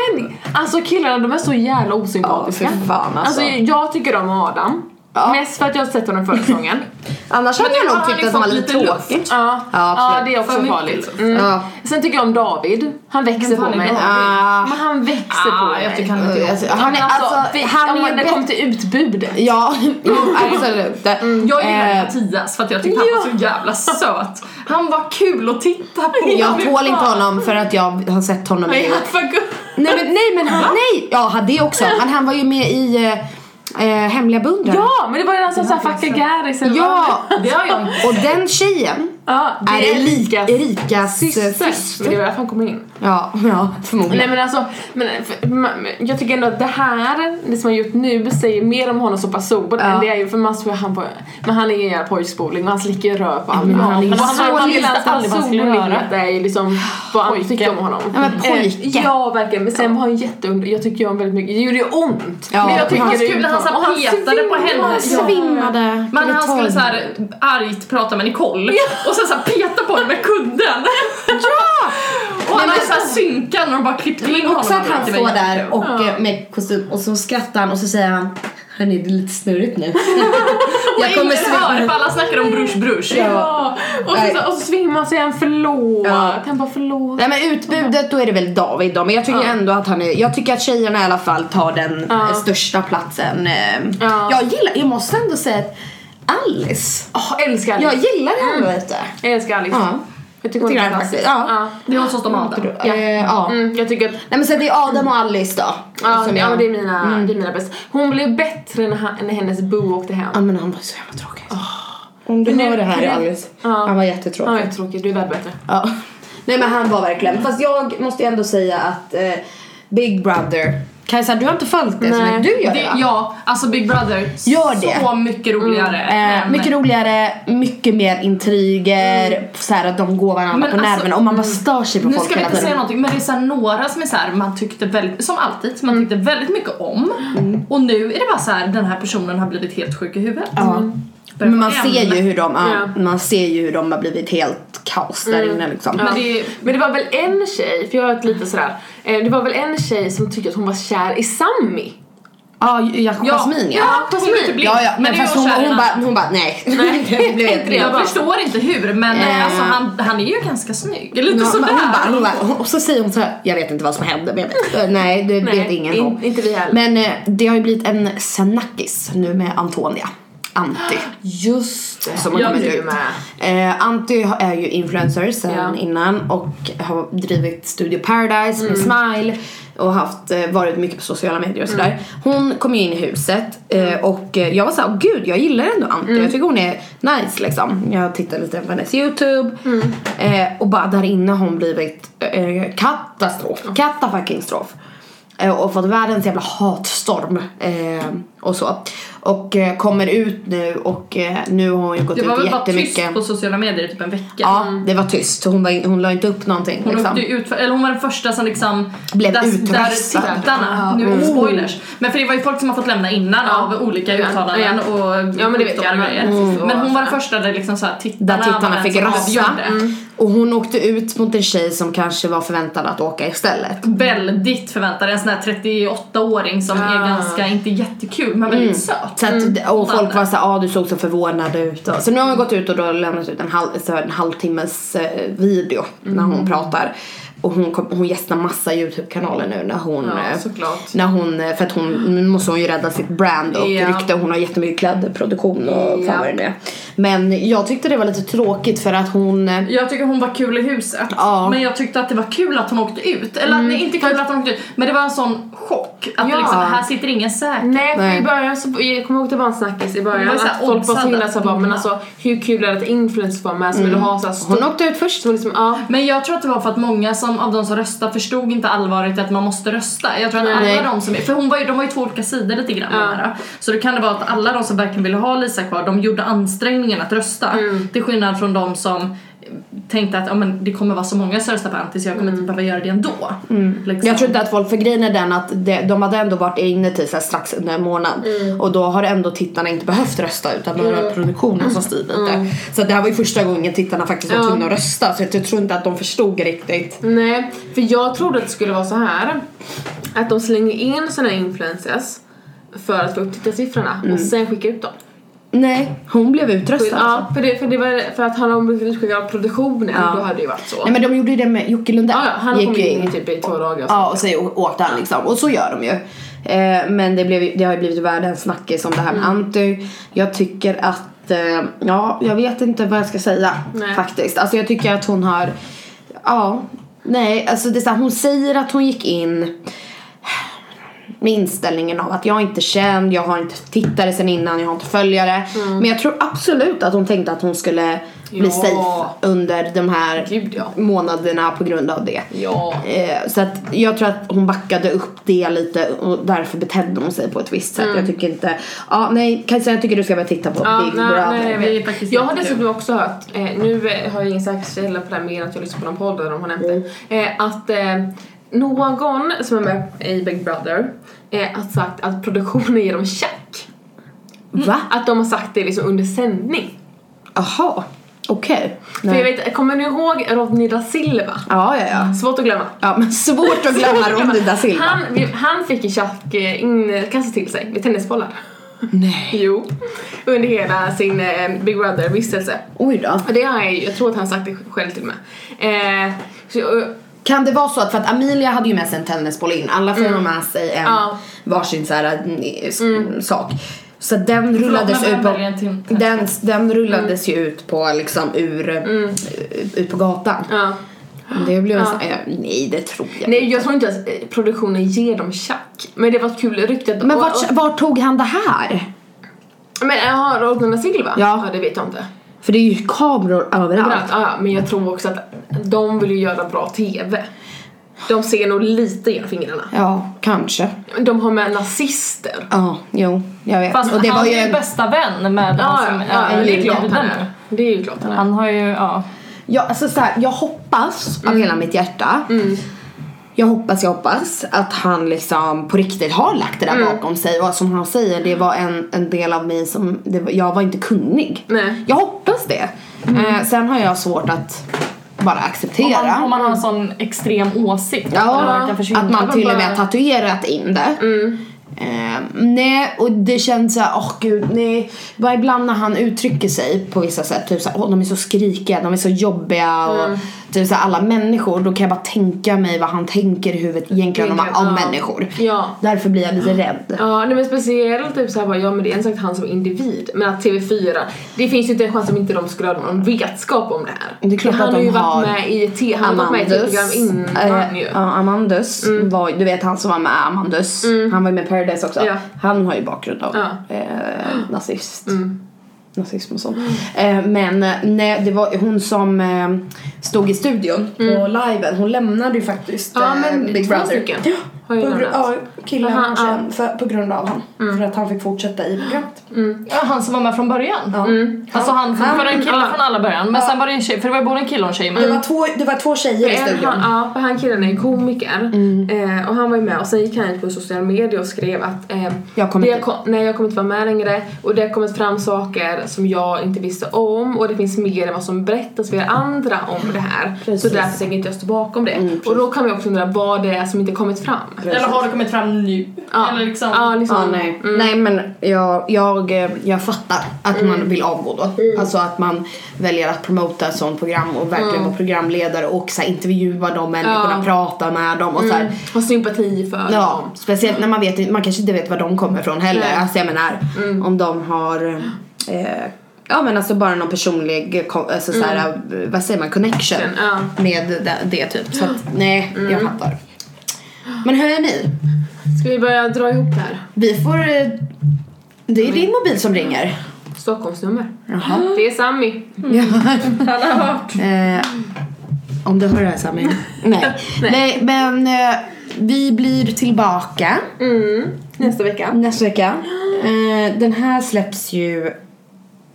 Speaker 2: alltså killarna de är så jävla
Speaker 3: Ja,
Speaker 2: osympatiska.
Speaker 3: fy fan, alltså.
Speaker 2: jag tycker om Adam.
Speaker 3: Ja.
Speaker 2: Mest för att jag har sett honom förra säsongen.
Speaker 3: Annars hade
Speaker 1: Men nu
Speaker 3: jag
Speaker 1: har
Speaker 3: nog tyckt
Speaker 1: han
Speaker 3: att han var
Speaker 1: ju
Speaker 3: lite
Speaker 1: fått lite
Speaker 3: tråkig.
Speaker 2: Ja,
Speaker 3: Ja,
Speaker 2: ja
Speaker 3: absolut.
Speaker 2: det är också
Speaker 1: För mycket,
Speaker 2: farligt.
Speaker 1: liksom.
Speaker 2: Mm.
Speaker 3: Ja.
Speaker 2: Sen tycker jag om David. Han växer
Speaker 1: Vem
Speaker 2: på
Speaker 1: fan är
Speaker 2: mig.
Speaker 1: David?
Speaker 3: Ah.
Speaker 2: Men han växer på
Speaker 1: Ah,
Speaker 2: mig.
Speaker 1: jag tycker han är lite jobbig.
Speaker 3: Alltså, han är,
Speaker 2: Men alltså, vi,
Speaker 3: alltså,
Speaker 2: om
Speaker 3: han är
Speaker 2: man,
Speaker 3: ju
Speaker 2: det
Speaker 3: bättre.
Speaker 2: kom till utbudet.
Speaker 3: Ja, jo, absolut.
Speaker 1: Mm. Jag gillade
Speaker 3: Eh,
Speaker 1: Mattias för att jag tyckte han var så jävla söt. Han var kul att titta på.
Speaker 3: Jag tål inte honom för att jag har sett honom i...
Speaker 1: Nej, han var gull.
Speaker 3: Nej men, nej, men han, nej! Ja, han- det också. Men han var ju med i eh, eh, Hemliga beundraren.
Speaker 2: Ja, men det var ju den som sa fucka Garris eller vad
Speaker 3: Ja,
Speaker 2: han-
Speaker 1: Det har jag inte.
Speaker 3: Och den tjejen
Speaker 2: ja,
Speaker 3: är,
Speaker 2: det är lika
Speaker 3: Erika, Erikas syster.
Speaker 2: syster. Men Det var därför han kom in.
Speaker 3: Ja, ja, förmodligen.
Speaker 2: Nej men alltså, men, för, man, jag tycker ändå att det här, det som han gjort nu, säger mer om honom som person än det är ju för man tror han på, men han är ju en jävla pojkspoling och han slickar ju röv på alla.
Speaker 3: Men han är ju
Speaker 2: och
Speaker 3: så
Speaker 2: han, han
Speaker 3: lite
Speaker 2: vill hans
Speaker 4: aldrig vad han skulle
Speaker 2: personlighet är ju liksom vad han tycker om honom.
Speaker 3: Ja, men pojke.
Speaker 2: Eh, Ja verkligen, men sen var han jätteund, jag tycker ju om väldigt mycket, det gjorde ju ont.
Speaker 3: Ja,
Speaker 2: men
Speaker 3: men
Speaker 2: jag tycker
Speaker 3: han
Speaker 2: det är
Speaker 1: skulle- han
Speaker 2: ont.
Speaker 1: satt
Speaker 2: Och
Speaker 1: petade på
Speaker 2: svimmar.
Speaker 1: henne.
Speaker 2: Ja.
Speaker 3: Svimmade.
Speaker 1: Men han skulle
Speaker 3: Tolv.
Speaker 1: såhär argt prata med Nicole och sen såhär peta på henne med kudden. Ja! och han
Speaker 3: men-
Speaker 1: hade såhär synkan och de bara klippte in
Speaker 3: Men
Speaker 1: honom.
Speaker 3: också att han
Speaker 1: Det var
Speaker 3: står
Speaker 1: jättekul.
Speaker 3: där och eh, med kostym och så skrattar han och så säger han Hörni, det är lite snurrigt nu. jag
Speaker 1: Ingen
Speaker 3: kommer
Speaker 1: hör
Speaker 3: svimma.
Speaker 1: för alla snackar om brush brush.
Speaker 2: Ja. Och, så,
Speaker 3: Nej.
Speaker 2: så, och så svimmar sig han förlåt.
Speaker 3: Ja.
Speaker 2: Han bara förlåt.
Speaker 3: Nej men utbudet då är det väl David då men jag tycker ändå att han är, jag tycker att tjejerna i alla fall tar den
Speaker 2: Ja.
Speaker 3: eh, största platsen. eh.
Speaker 2: Ja.
Speaker 3: Jag gillar, jag måste ändå säga att Alice,
Speaker 2: Åh, älskar Alice.
Speaker 3: jag gillar henne lite.
Speaker 2: Jag älskar Alice.
Speaker 3: Ja.
Speaker 2: Jag tycker hon
Speaker 3: Tycker
Speaker 2: är
Speaker 3: jag
Speaker 2: fantastisk.
Speaker 3: faktiskt. Ja.
Speaker 1: Det är hon som står med Adam.
Speaker 3: Ja. Eh, ja.
Speaker 2: Mm, jag tycker att
Speaker 3: Nej men sen det är Adam och Alice då.
Speaker 2: Ja,
Speaker 3: som
Speaker 2: ja
Speaker 3: jag- Mm.
Speaker 2: det, är mina, det är mina bästa. Hon blev bättre när, han, när hennes boo åkte hem.
Speaker 3: Ja men han var så jävla tråkig. Om du
Speaker 2: Men nu-
Speaker 3: hör det här
Speaker 2: nu-
Speaker 3: Alice,
Speaker 2: Ja.
Speaker 3: han var jättetråkig.
Speaker 2: Han är tråkig, du är värd bättre.
Speaker 3: Ja. Nej men han var verkligen, fast jag måste ju ändå säga att eh, Big Brother Kajsa du har inte följt det så
Speaker 2: Nej.
Speaker 3: mycket, du gör det,
Speaker 1: Det,
Speaker 3: va?
Speaker 1: ja, alltså Big Brother.
Speaker 3: Gör det.
Speaker 1: Så mycket roligare.
Speaker 3: Eh,
Speaker 1: än-
Speaker 3: mycket roligare, mycket mer intriger, så här att de går varandra
Speaker 1: Men
Speaker 3: på
Speaker 1: alltså,
Speaker 3: nerverna och man bara stör sig på
Speaker 1: Nu
Speaker 3: folk
Speaker 1: ska vi
Speaker 3: hela
Speaker 1: inte säga
Speaker 3: tiden.
Speaker 1: någonting men det är så här några som är så här, man tyckte väldigt, som alltid, som man
Speaker 3: Mm.
Speaker 1: tyckte väldigt mycket om. Och nu är det bara så här, den här personen har blivit helt sjuk i huvudet.
Speaker 3: Ja. Men man
Speaker 1: En.
Speaker 3: ser ju hur de, ja,
Speaker 2: Ja.
Speaker 3: man ser ju hur de har blivit helt kaos där inne liksom.
Speaker 1: Men det är
Speaker 2: Men det var väl en tjej, för jag har ett lite sådär, eh, det var väl en tj som tyckte att hon var kär i Sammy.
Speaker 3: Ja, ja, Jasmin ja.
Speaker 1: Ja,
Speaker 2: Jasmin.
Speaker 1: hon är inte blind.
Speaker 3: Ja, ja, men,
Speaker 1: det är
Speaker 3: fast hon,
Speaker 1: jag kär i
Speaker 3: hon,
Speaker 1: en
Speaker 3: bara,
Speaker 1: annan.
Speaker 3: hon bara nej. det blev helt
Speaker 1: Jag
Speaker 3: fel.
Speaker 1: förstår inte hur men eh,
Speaker 3: Eh.
Speaker 1: alltså, han, han är ju ganska snygg. Eller lite
Speaker 3: Ja,
Speaker 1: sådär.
Speaker 3: men hon bara, hon bara, hon- och så säger hon så här, jag vet inte vad som hände men jag vet. Eh, Nej det
Speaker 2: Nej,
Speaker 3: vet ingen
Speaker 2: in-
Speaker 3: om.
Speaker 2: inte vi heller.
Speaker 3: Men eh, det har ju blivit en snackis nu med Antonia. Anti.
Speaker 2: Just det.
Speaker 3: Som har
Speaker 2: jag
Speaker 3: kommit
Speaker 2: blir
Speaker 3: ut. Eh, Anti har- är ju influencer sen
Speaker 2: Ja.
Speaker 3: innan och har drivit Studio Paradise
Speaker 1: Mm.
Speaker 3: med Smile och haft, eh, varit mycket på sociala medier
Speaker 1: Mm.
Speaker 3: och sådär. Hon kom ju in i huset eh, och eh, jag var såhär, "Åh, gud jag gillar ändå Anti,
Speaker 1: Mm.
Speaker 3: jag tycker hon är nice liksom. Jag tittade lite på hennes youtube
Speaker 1: Mm.
Speaker 3: eh, och bara där inne har hon blivit eh, katastrof, katafucking strof. Eh, och fått världens jävla hatstorm eh, och så. Och eh, kommer ut nu och eh, nu har hon ju gått
Speaker 1: Det var
Speaker 3: ut
Speaker 1: väl bara
Speaker 3: jättemycket.
Speaker 1: tyst på sociala medier i typ en vecka.
Speaker 3: Ja, det var tyst. Hon, var, in- hon la inte upp någonting.
Speaker 1: Hon,
Speaker 3: liksom.
Speaker 1: åkte ju ut för, eller hon var den första som liksom
Speaker 3: Blev
Speaker 1: där, där
Speaker 3: utröstad.
Speaker 1: tittarna, nu är det spoilers. Men för det var ju folk som har fått lämna innan av olika
Speaker 2: Oh. Ja,
Speaker 1: uttalanden
Speaker 2: ja.
Speaker 1: och
Speaker 2: Ja, men det vet jag.
Speaker 1: och grejer.
Speaker 2: Mm.
Speaker 1: Men hon var den första där liksom såhär tittarna,
Speaker 3: Där tittarna
Speaker 1: var den
Speaker 3: fick
Speaker 1: som
Speaker 3: rösta.
Speaker 1: avgjorde.
Speaker 2: Mm.
Speaker 3: Och hon åkte ut mot en tjej som kanske var förväntad att åka istället.
Speaker 1: Väldigt förväntad, en sån här 38-åring som är ganska, inte jättekul men väldigt
Speaker 2: Mm.
Speaker 1: söt.
Speaker 3: Så att, Och folk var såhär, ah, du såg så förvånad ut. Så nu har hon gått ut och då lämnat ut en, halv, så här en halvtimmes eh, video när hon pratar. Och hon, kom, hon gästar massa YouTube-kanaler nu när hon...
Speaker 2: Ja,
Speaker 3: eh,
Speaker 2: såklart.
Speaker 3: när hon eh, för att hon, nu måste hon ju rädda sitt brand och
Speaker 2: Ja.
Speaker 3: rykte. Hon har jättemycket klädproduktion och
Speaker 2: Ja.
Speaker 3: fan vad det nu är. Men jag tyckte det var lite tråkigt för att hon... eh,
Speaker 1: Jag tycker hon var kul i huset.
Speaker 3: Ja.
Speaker 1: Men jag tyckte att det var kul att hon åkte ut. Eller nej, inte kul att hon åkte ut. Men det var en sån chock. Att
Speaker 2: Mm. Ja.
Speaker 1: liksom, här sitter ingen säker.
Speaker 2: Nej, för
Speaker 3: Nej.
Speaker 2: i början så, jag kommer ihåg att det var en snackis i
Speaker 1: Det
Speaker 2: början
Speaker 1: var ju så här
Speaker 2: att folk var så himla
Speaker 1: oddsade.
Speaker 2: så bara, men alltså hur kul är det att influencers får vara med som vill ha såhär
Speaker 3: Mm. Hon åkte ut först.
Speaker 2: så liksom, ja.
Speaker 1: Men jag tror att det var för att många som, av de som röstade förstod inte allvaret i att man måste rösta. Jag tror att alla
Speaker 3: Nej.
Speaker 1: de som är, för hon var ju, de var ju två olika sidor lite grann de här. Så det kan det vara att alla de som verkligen ville ha Lisa kvar, de gjorde ansträngningen att rösta.
Speaker 3: Mm.
Speaker 1: Till skillnad från de som eh, tänkte att ja, men det kommer vara så många som röstar på Antti så jag kommer inte behöva göra det ändå. Liksom.
Speaker 3: Mm. Jag tror inte att folk, för grejen är den att det, de hade ändå varit inne till så här strax under en månad
Speaker 2: Mm.
Speaker 3: och då har ändå tittarna inte behövt rösta utan det var produktionen som styrde lite.
Speaker 2: Mm.
Speaker 3: Så det här var ju första gången tittarna faktiskt var tvungna att rösta så jag tror inte att de förstod riktigt.
Speaker 2: Nej, för jag trodde att det skulle vara så här att de slänger in såna influencers för att få upp tittarsiffrorna
Speaker 3: Mm.
Speaker 2: och sen skicka ut dem.
Speaker 3: Nej, hon blev utröstad alltså.
Speaker 2: Ja, för, det, för, det var, för att han har blivit utskickad av produktionen,
Speaker 3: Ja.
Speaker 2: då hade det ju varit så.
Speaker 3: Nej men de gjorde ju det med Jocke Lundell.
Speaker 2: ja, ja, han
Speaker 3: Gick
Speaker 2: kom
Speaker 3: ju
Speaker 2: in i typ i två dagar. och så.
Speaker 3: Ja, och så åkte han liksom. Och så gör de ju. Eh, men det, blev, ju- det har ju blivit världens snackis om det här med
Speaker 2: Mm.
Speaker 3: Antu. Jag tycker att, eh, ja, jag vet inte vad jag ska säga
Speaker 2: Nej.
Speaker 3: faktiskt. Alltså jag tycker att hon har, ja, nej, alltså det är så här, hon säger att hon gick in med inställningen av att jag är inte känd, jag har inte tittare sen innan, jag har inte följare. Men jag tror absolut att hon tänkte att hon skulle bli
Speaker 2: Mm. Ja.
Speaker 3: safe under de här
Speaker 2: Gud, ja.
Speaker 3: månaderna på grund av det.
Speaker 2: Ja.
Speaker 3: Eh, så att jag tror att hon backade upp det lite och därför betedde hon sig på ett visst sätt. Jag tycker inte, ja nej Kajsa jag tycker du ska börja titta på
Speaker 2: Mm. Ja,
Speaker 3: Big
Speaker 2: nej,
Speaker 3: Brother.
Speaker 2: nej, jag
Speaker 1: Det är
Speaker 2: vet.
Speaker 1: faktiskt
Speaker 2: jag har
Speaker 1: jättekul.
Speaker 2: dessutom också hört, eh, nu eh, har jag ingen säker källa på det här mer än att jag lyssnar på någon podd där de har nämnt det,
Speaker 3: Mm.
Speaker 2: eh, att eh, någon som är med i Big Brother eh, har sagt att produktionen ger dem check.
Speaker 3: Va?
Speaker 2: Att de har sagt det liksom under sändning.
Speaker 3: Jaha, okej.
Speaker 2: För jag
Speaker 3: Nej.
Speaker 2: vet, kommer ni ihåg Rodney da Silva?
Speaker 3: Ja, ja, ja.
Speaker 2: Svårt att glömma.
Speaker 3: Ja, men svårt att glömma Ronny da Silva.
Speaker 2: Han, vi- han fick en tjack eh, inkastad till sig med tennisbollar.
Speaker 3: Nej.
Speaker 2: Jo. Under hela sin eh, Big Brother-vistelse.
Speaker 3: Oj då.
Speaker 2: Och Det har jag, ju- jag tror att han sagt det själv till och med. Eh, så, eh,
Speaker 3: Kan det vara så att, för att Amelia hade ju med sig en tennisboll in, alla får mm. med sig en
Speaker 2: Ja.
Speaker 3: varsin så här, mm, s- sak. Så att den rullades
Speaker 1: men vem
Speaker 3: ut på,
Speaker 1: väljer en till tennisboll?
Speaker 3: den, den rullades
Speaker 2: Mm.
Speaker 3: ju ut på liksom ur, ut på gatan.
Speaker 2: ja.
Speaker 3: Det blev en
Speaker 2: Ja.
Speaker 3: sån- eh, nej det tror jag
Speaker 2: Nej jag tror inte att eh, produktionen ger dem tjack. Men det var ett kul rykte att...
Speaker 3: Men
Speaker 2: och-
Speaker 3: vart,
Speaker 2: och-
Speaker 3: vart tog han det här?
Speaker 2: Men jaha, Rodney da Silva?
Speaker 3: Ja.
Speaker 2: det vet jag inte.
Speaker 3: För det är ju kameror överallt.
Speaker 2: Ja. Ja, men jag tror också att de vill ju göra bra TV. De ser nog lite genom fingrarna.
Speaker 3: Ja, kanske.
Speaker 2: De har med nazister.
Speaker 3: Ja, jo, jag vet.
Speaker 1: Fast
Speaker 3: och det
Speaker 1: han
Speaker 3: var ju
Speaker 1: är ju
Speaker 3: en...
Speaker 1: bästa vän med
Speaker 2: Ja,
Speaker 1: han som
Speaker 2: ja, ja,
Speaker 1: är
Speaker 2: det är klart
Speaker 1: guden
Speaker 2: han
Speaker 1: nu.
Speaker 2: är. Det är ju klart han är.
Speaker 1: Han har ju, ja.
Speaker 3: Ja, alltså så här, jag hoppas av hela mitt hjärta. Jag hoppas, jag hoppas att han liksom på riktigt har lagt det där bakom sig. Och som han säger, det var en, en del av mig som, det var, jag var inte kunnig.
Speaker 2: Nej.
Speaker 3: Jag hoppas det. Eh, sen har jag svårt att bara
Speaker 1: Om
Speaker 3: acceptera.
Speaker 1: man, om man har en sån extrem åsikt.
Speaker 3: Ja,
Speaker 1: eller man kan försvinna.
Speaker 3: att man till och med
Speaker 2: bara-
Speaker 3: tatuerat in det.
Speaker 2: Mm.
Speaker 3: Ehm, nej, och det känns såhär, åh gud, nej. Bara ibland när han uttrycker sig på vissa sätt, typ såhär, åh de är så skrikiga, de är så jobbiga och
Speaker 2: Mm.
Speaker 3: typ såhär alla människor, då kan jag bara tänka mig vad han tänker i huvudet egentligen om,
Speaker 2: Egentligen,
Speaker 3: om
Speaker 2: ja.
Speaker 3: människor.
Speaker 2: Ja.
Speaker 3: Därför blir jag lite rädd.
Speaker 2: Ja, nej men speciellt typ såhär bara, ja men det är en sak han som individ, men att TV4, det finns ju inte en chans om inte de skulle ha någon vetskap om det här.
Speaker 3: Det är klart
Speaker 2: han
Speaker 3: att
Speaker 2: har
Speaker 3: de
Speaker 2: ju
Speaker 3: har
Speaker 2: varit med i ett te- han har varit med i ett program innan
Speaker 3: eh,
Speaker 2: ju. Mm.
Speaker 3: ja, Amandus var du vet han som var med Amandus, han var ju med i Paradise också.
Speaker 2: Ja.
Speaker 3: Han har ju bakgrund av
Speaker 2: Ja. Mm.
Speaker 3: eh, nazist. Nazism och sånt. Eh, men eh, nej, det var hon som eh, stod i studion på liven, hon lämnade ju faktiskt
Speaker 2: Mm. Ja,
Speaker 3: eh,
Speaker 2: men
Speaker 3: Big
Speaker 2: två
Speaker 3: Brother.
Speaker 2: stycken
Speaker 3: Ja,
Speaker 2: har ju
Speaker 3: på gru-
Speaker 2: lämnat.
Speaker 3: ja, killen
Speaker 2: Aha,
Speaker 3: kanske,
Speaker 2: ja. Mm.
Speaker 3: för, på grund av han. För att han fick fortsätta i programmet.
Speaker 1: Ja, han som var med från början.
Speaker 3: Ja.
Speaker 1: Alltså han, för en kille
Speaker 2: ja.
Speaker 1: från alla början. Men sen var det en tjej, för det var ju både en kille och en tjej. Men
Speaker 3: Det, var två, det var två tjejer i
Speaker 2: En,
Speaker 3: studion. Mm.
Speaker 2: han, ja, för han killen är ju komiker eh, och han var ju med och sen gick han ut på sociala medier och skrev att eh,
Speaker 3: Jag kommer
Speaker 2: det
Speaker 3: inte-
Speaker 2: kom, nej, jag kommer inte vara med längre och det har kommit fram saker som jag inte visste om och det finns mer än vad som berättas för er andra om det här
Speaker 3: Precis. Mm,
Speaker 2: så därför tänker inte jag stå bakom det och då kan vi också undra vad det är som inte kommit fram.
Speaker 1: Eller har det kommit fram nu?
Speaker 2: Ja.
Speaker 1: Eller liksom,
Speaker 2: Ja, liksom.
Speaker 3: Ja, nej. nej men jag, jag, eh, jag fattar att
Speaker 2: Mm.
Speaker 3: man vill avgå då. Alltså att man väljer att promota ett sånt program och verkligen vara programledare och så här, intervjua de människorna,
Speaker 2: Mm. Ja.
Speaker 3: prata med dem och så här.
Speaker 2: Har Mm. sympati för
Speaker 3: Ja,
Speaker 2: dem.
Speaker 3: speciellt när man vet, man kanske inte vet var de kommer ifrån heller.
Speaker 2: Nej. Mm.
Speaker 3: Alltså jag menar om de har eh, Ja men alltså bara någon personlig, ko- alltså så här, eh, vad säger man, connection
Speaker 2: Mm. Ja. Mm.
Speaker 3: med det, det typ. Så att, nej, jag fattar. Men hörni,
Speaker 2: Ska vi börja dra ihop det här?
Speaker 3: vi får, eh, det är din mobil som ringer.
Speaker 2: Stockholmsnummer. Det är Sammy.
Speaker 3: Mm. Ja.
Speaker 1: Han har hört.
Speaker 3: Eh, om du hör det här Sami. Nej. Nej. men eh, vi blir tillbaka
Speaker 2: Mm. Nästa vecka.
Speaker 3: nästa vecka. Eh, den här släpps ju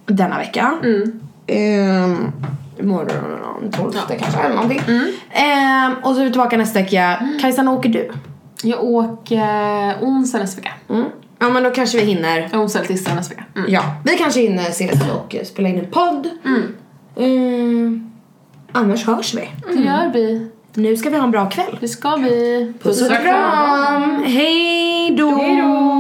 Speaker 3: denna vecka.
Speaker 2: Mm.
Speaker 3: Eh, morgon, 12 kanske eller någonting. Eh, och så är vi tillbaka nästa vecka. Kajsan, åker du?
Speaker 2: Jag åker onsdag nästa vecka.
Speaker 3: Ja men då kanske vi hinner.
Speaker 2: Jag onsdag eller tisdag nästa vecka. Mm.
Speaker 3: Ja, vi kanske hinner ses och eh, spela in en podd. Eh, annars hörs vi.
Speaker 2: Det gör vi.
Speaker 3: Nu ska vi ha en bra kväll.
Speaker 2: Det ska vi.
Speaker 3: Puss och kram! Hej då!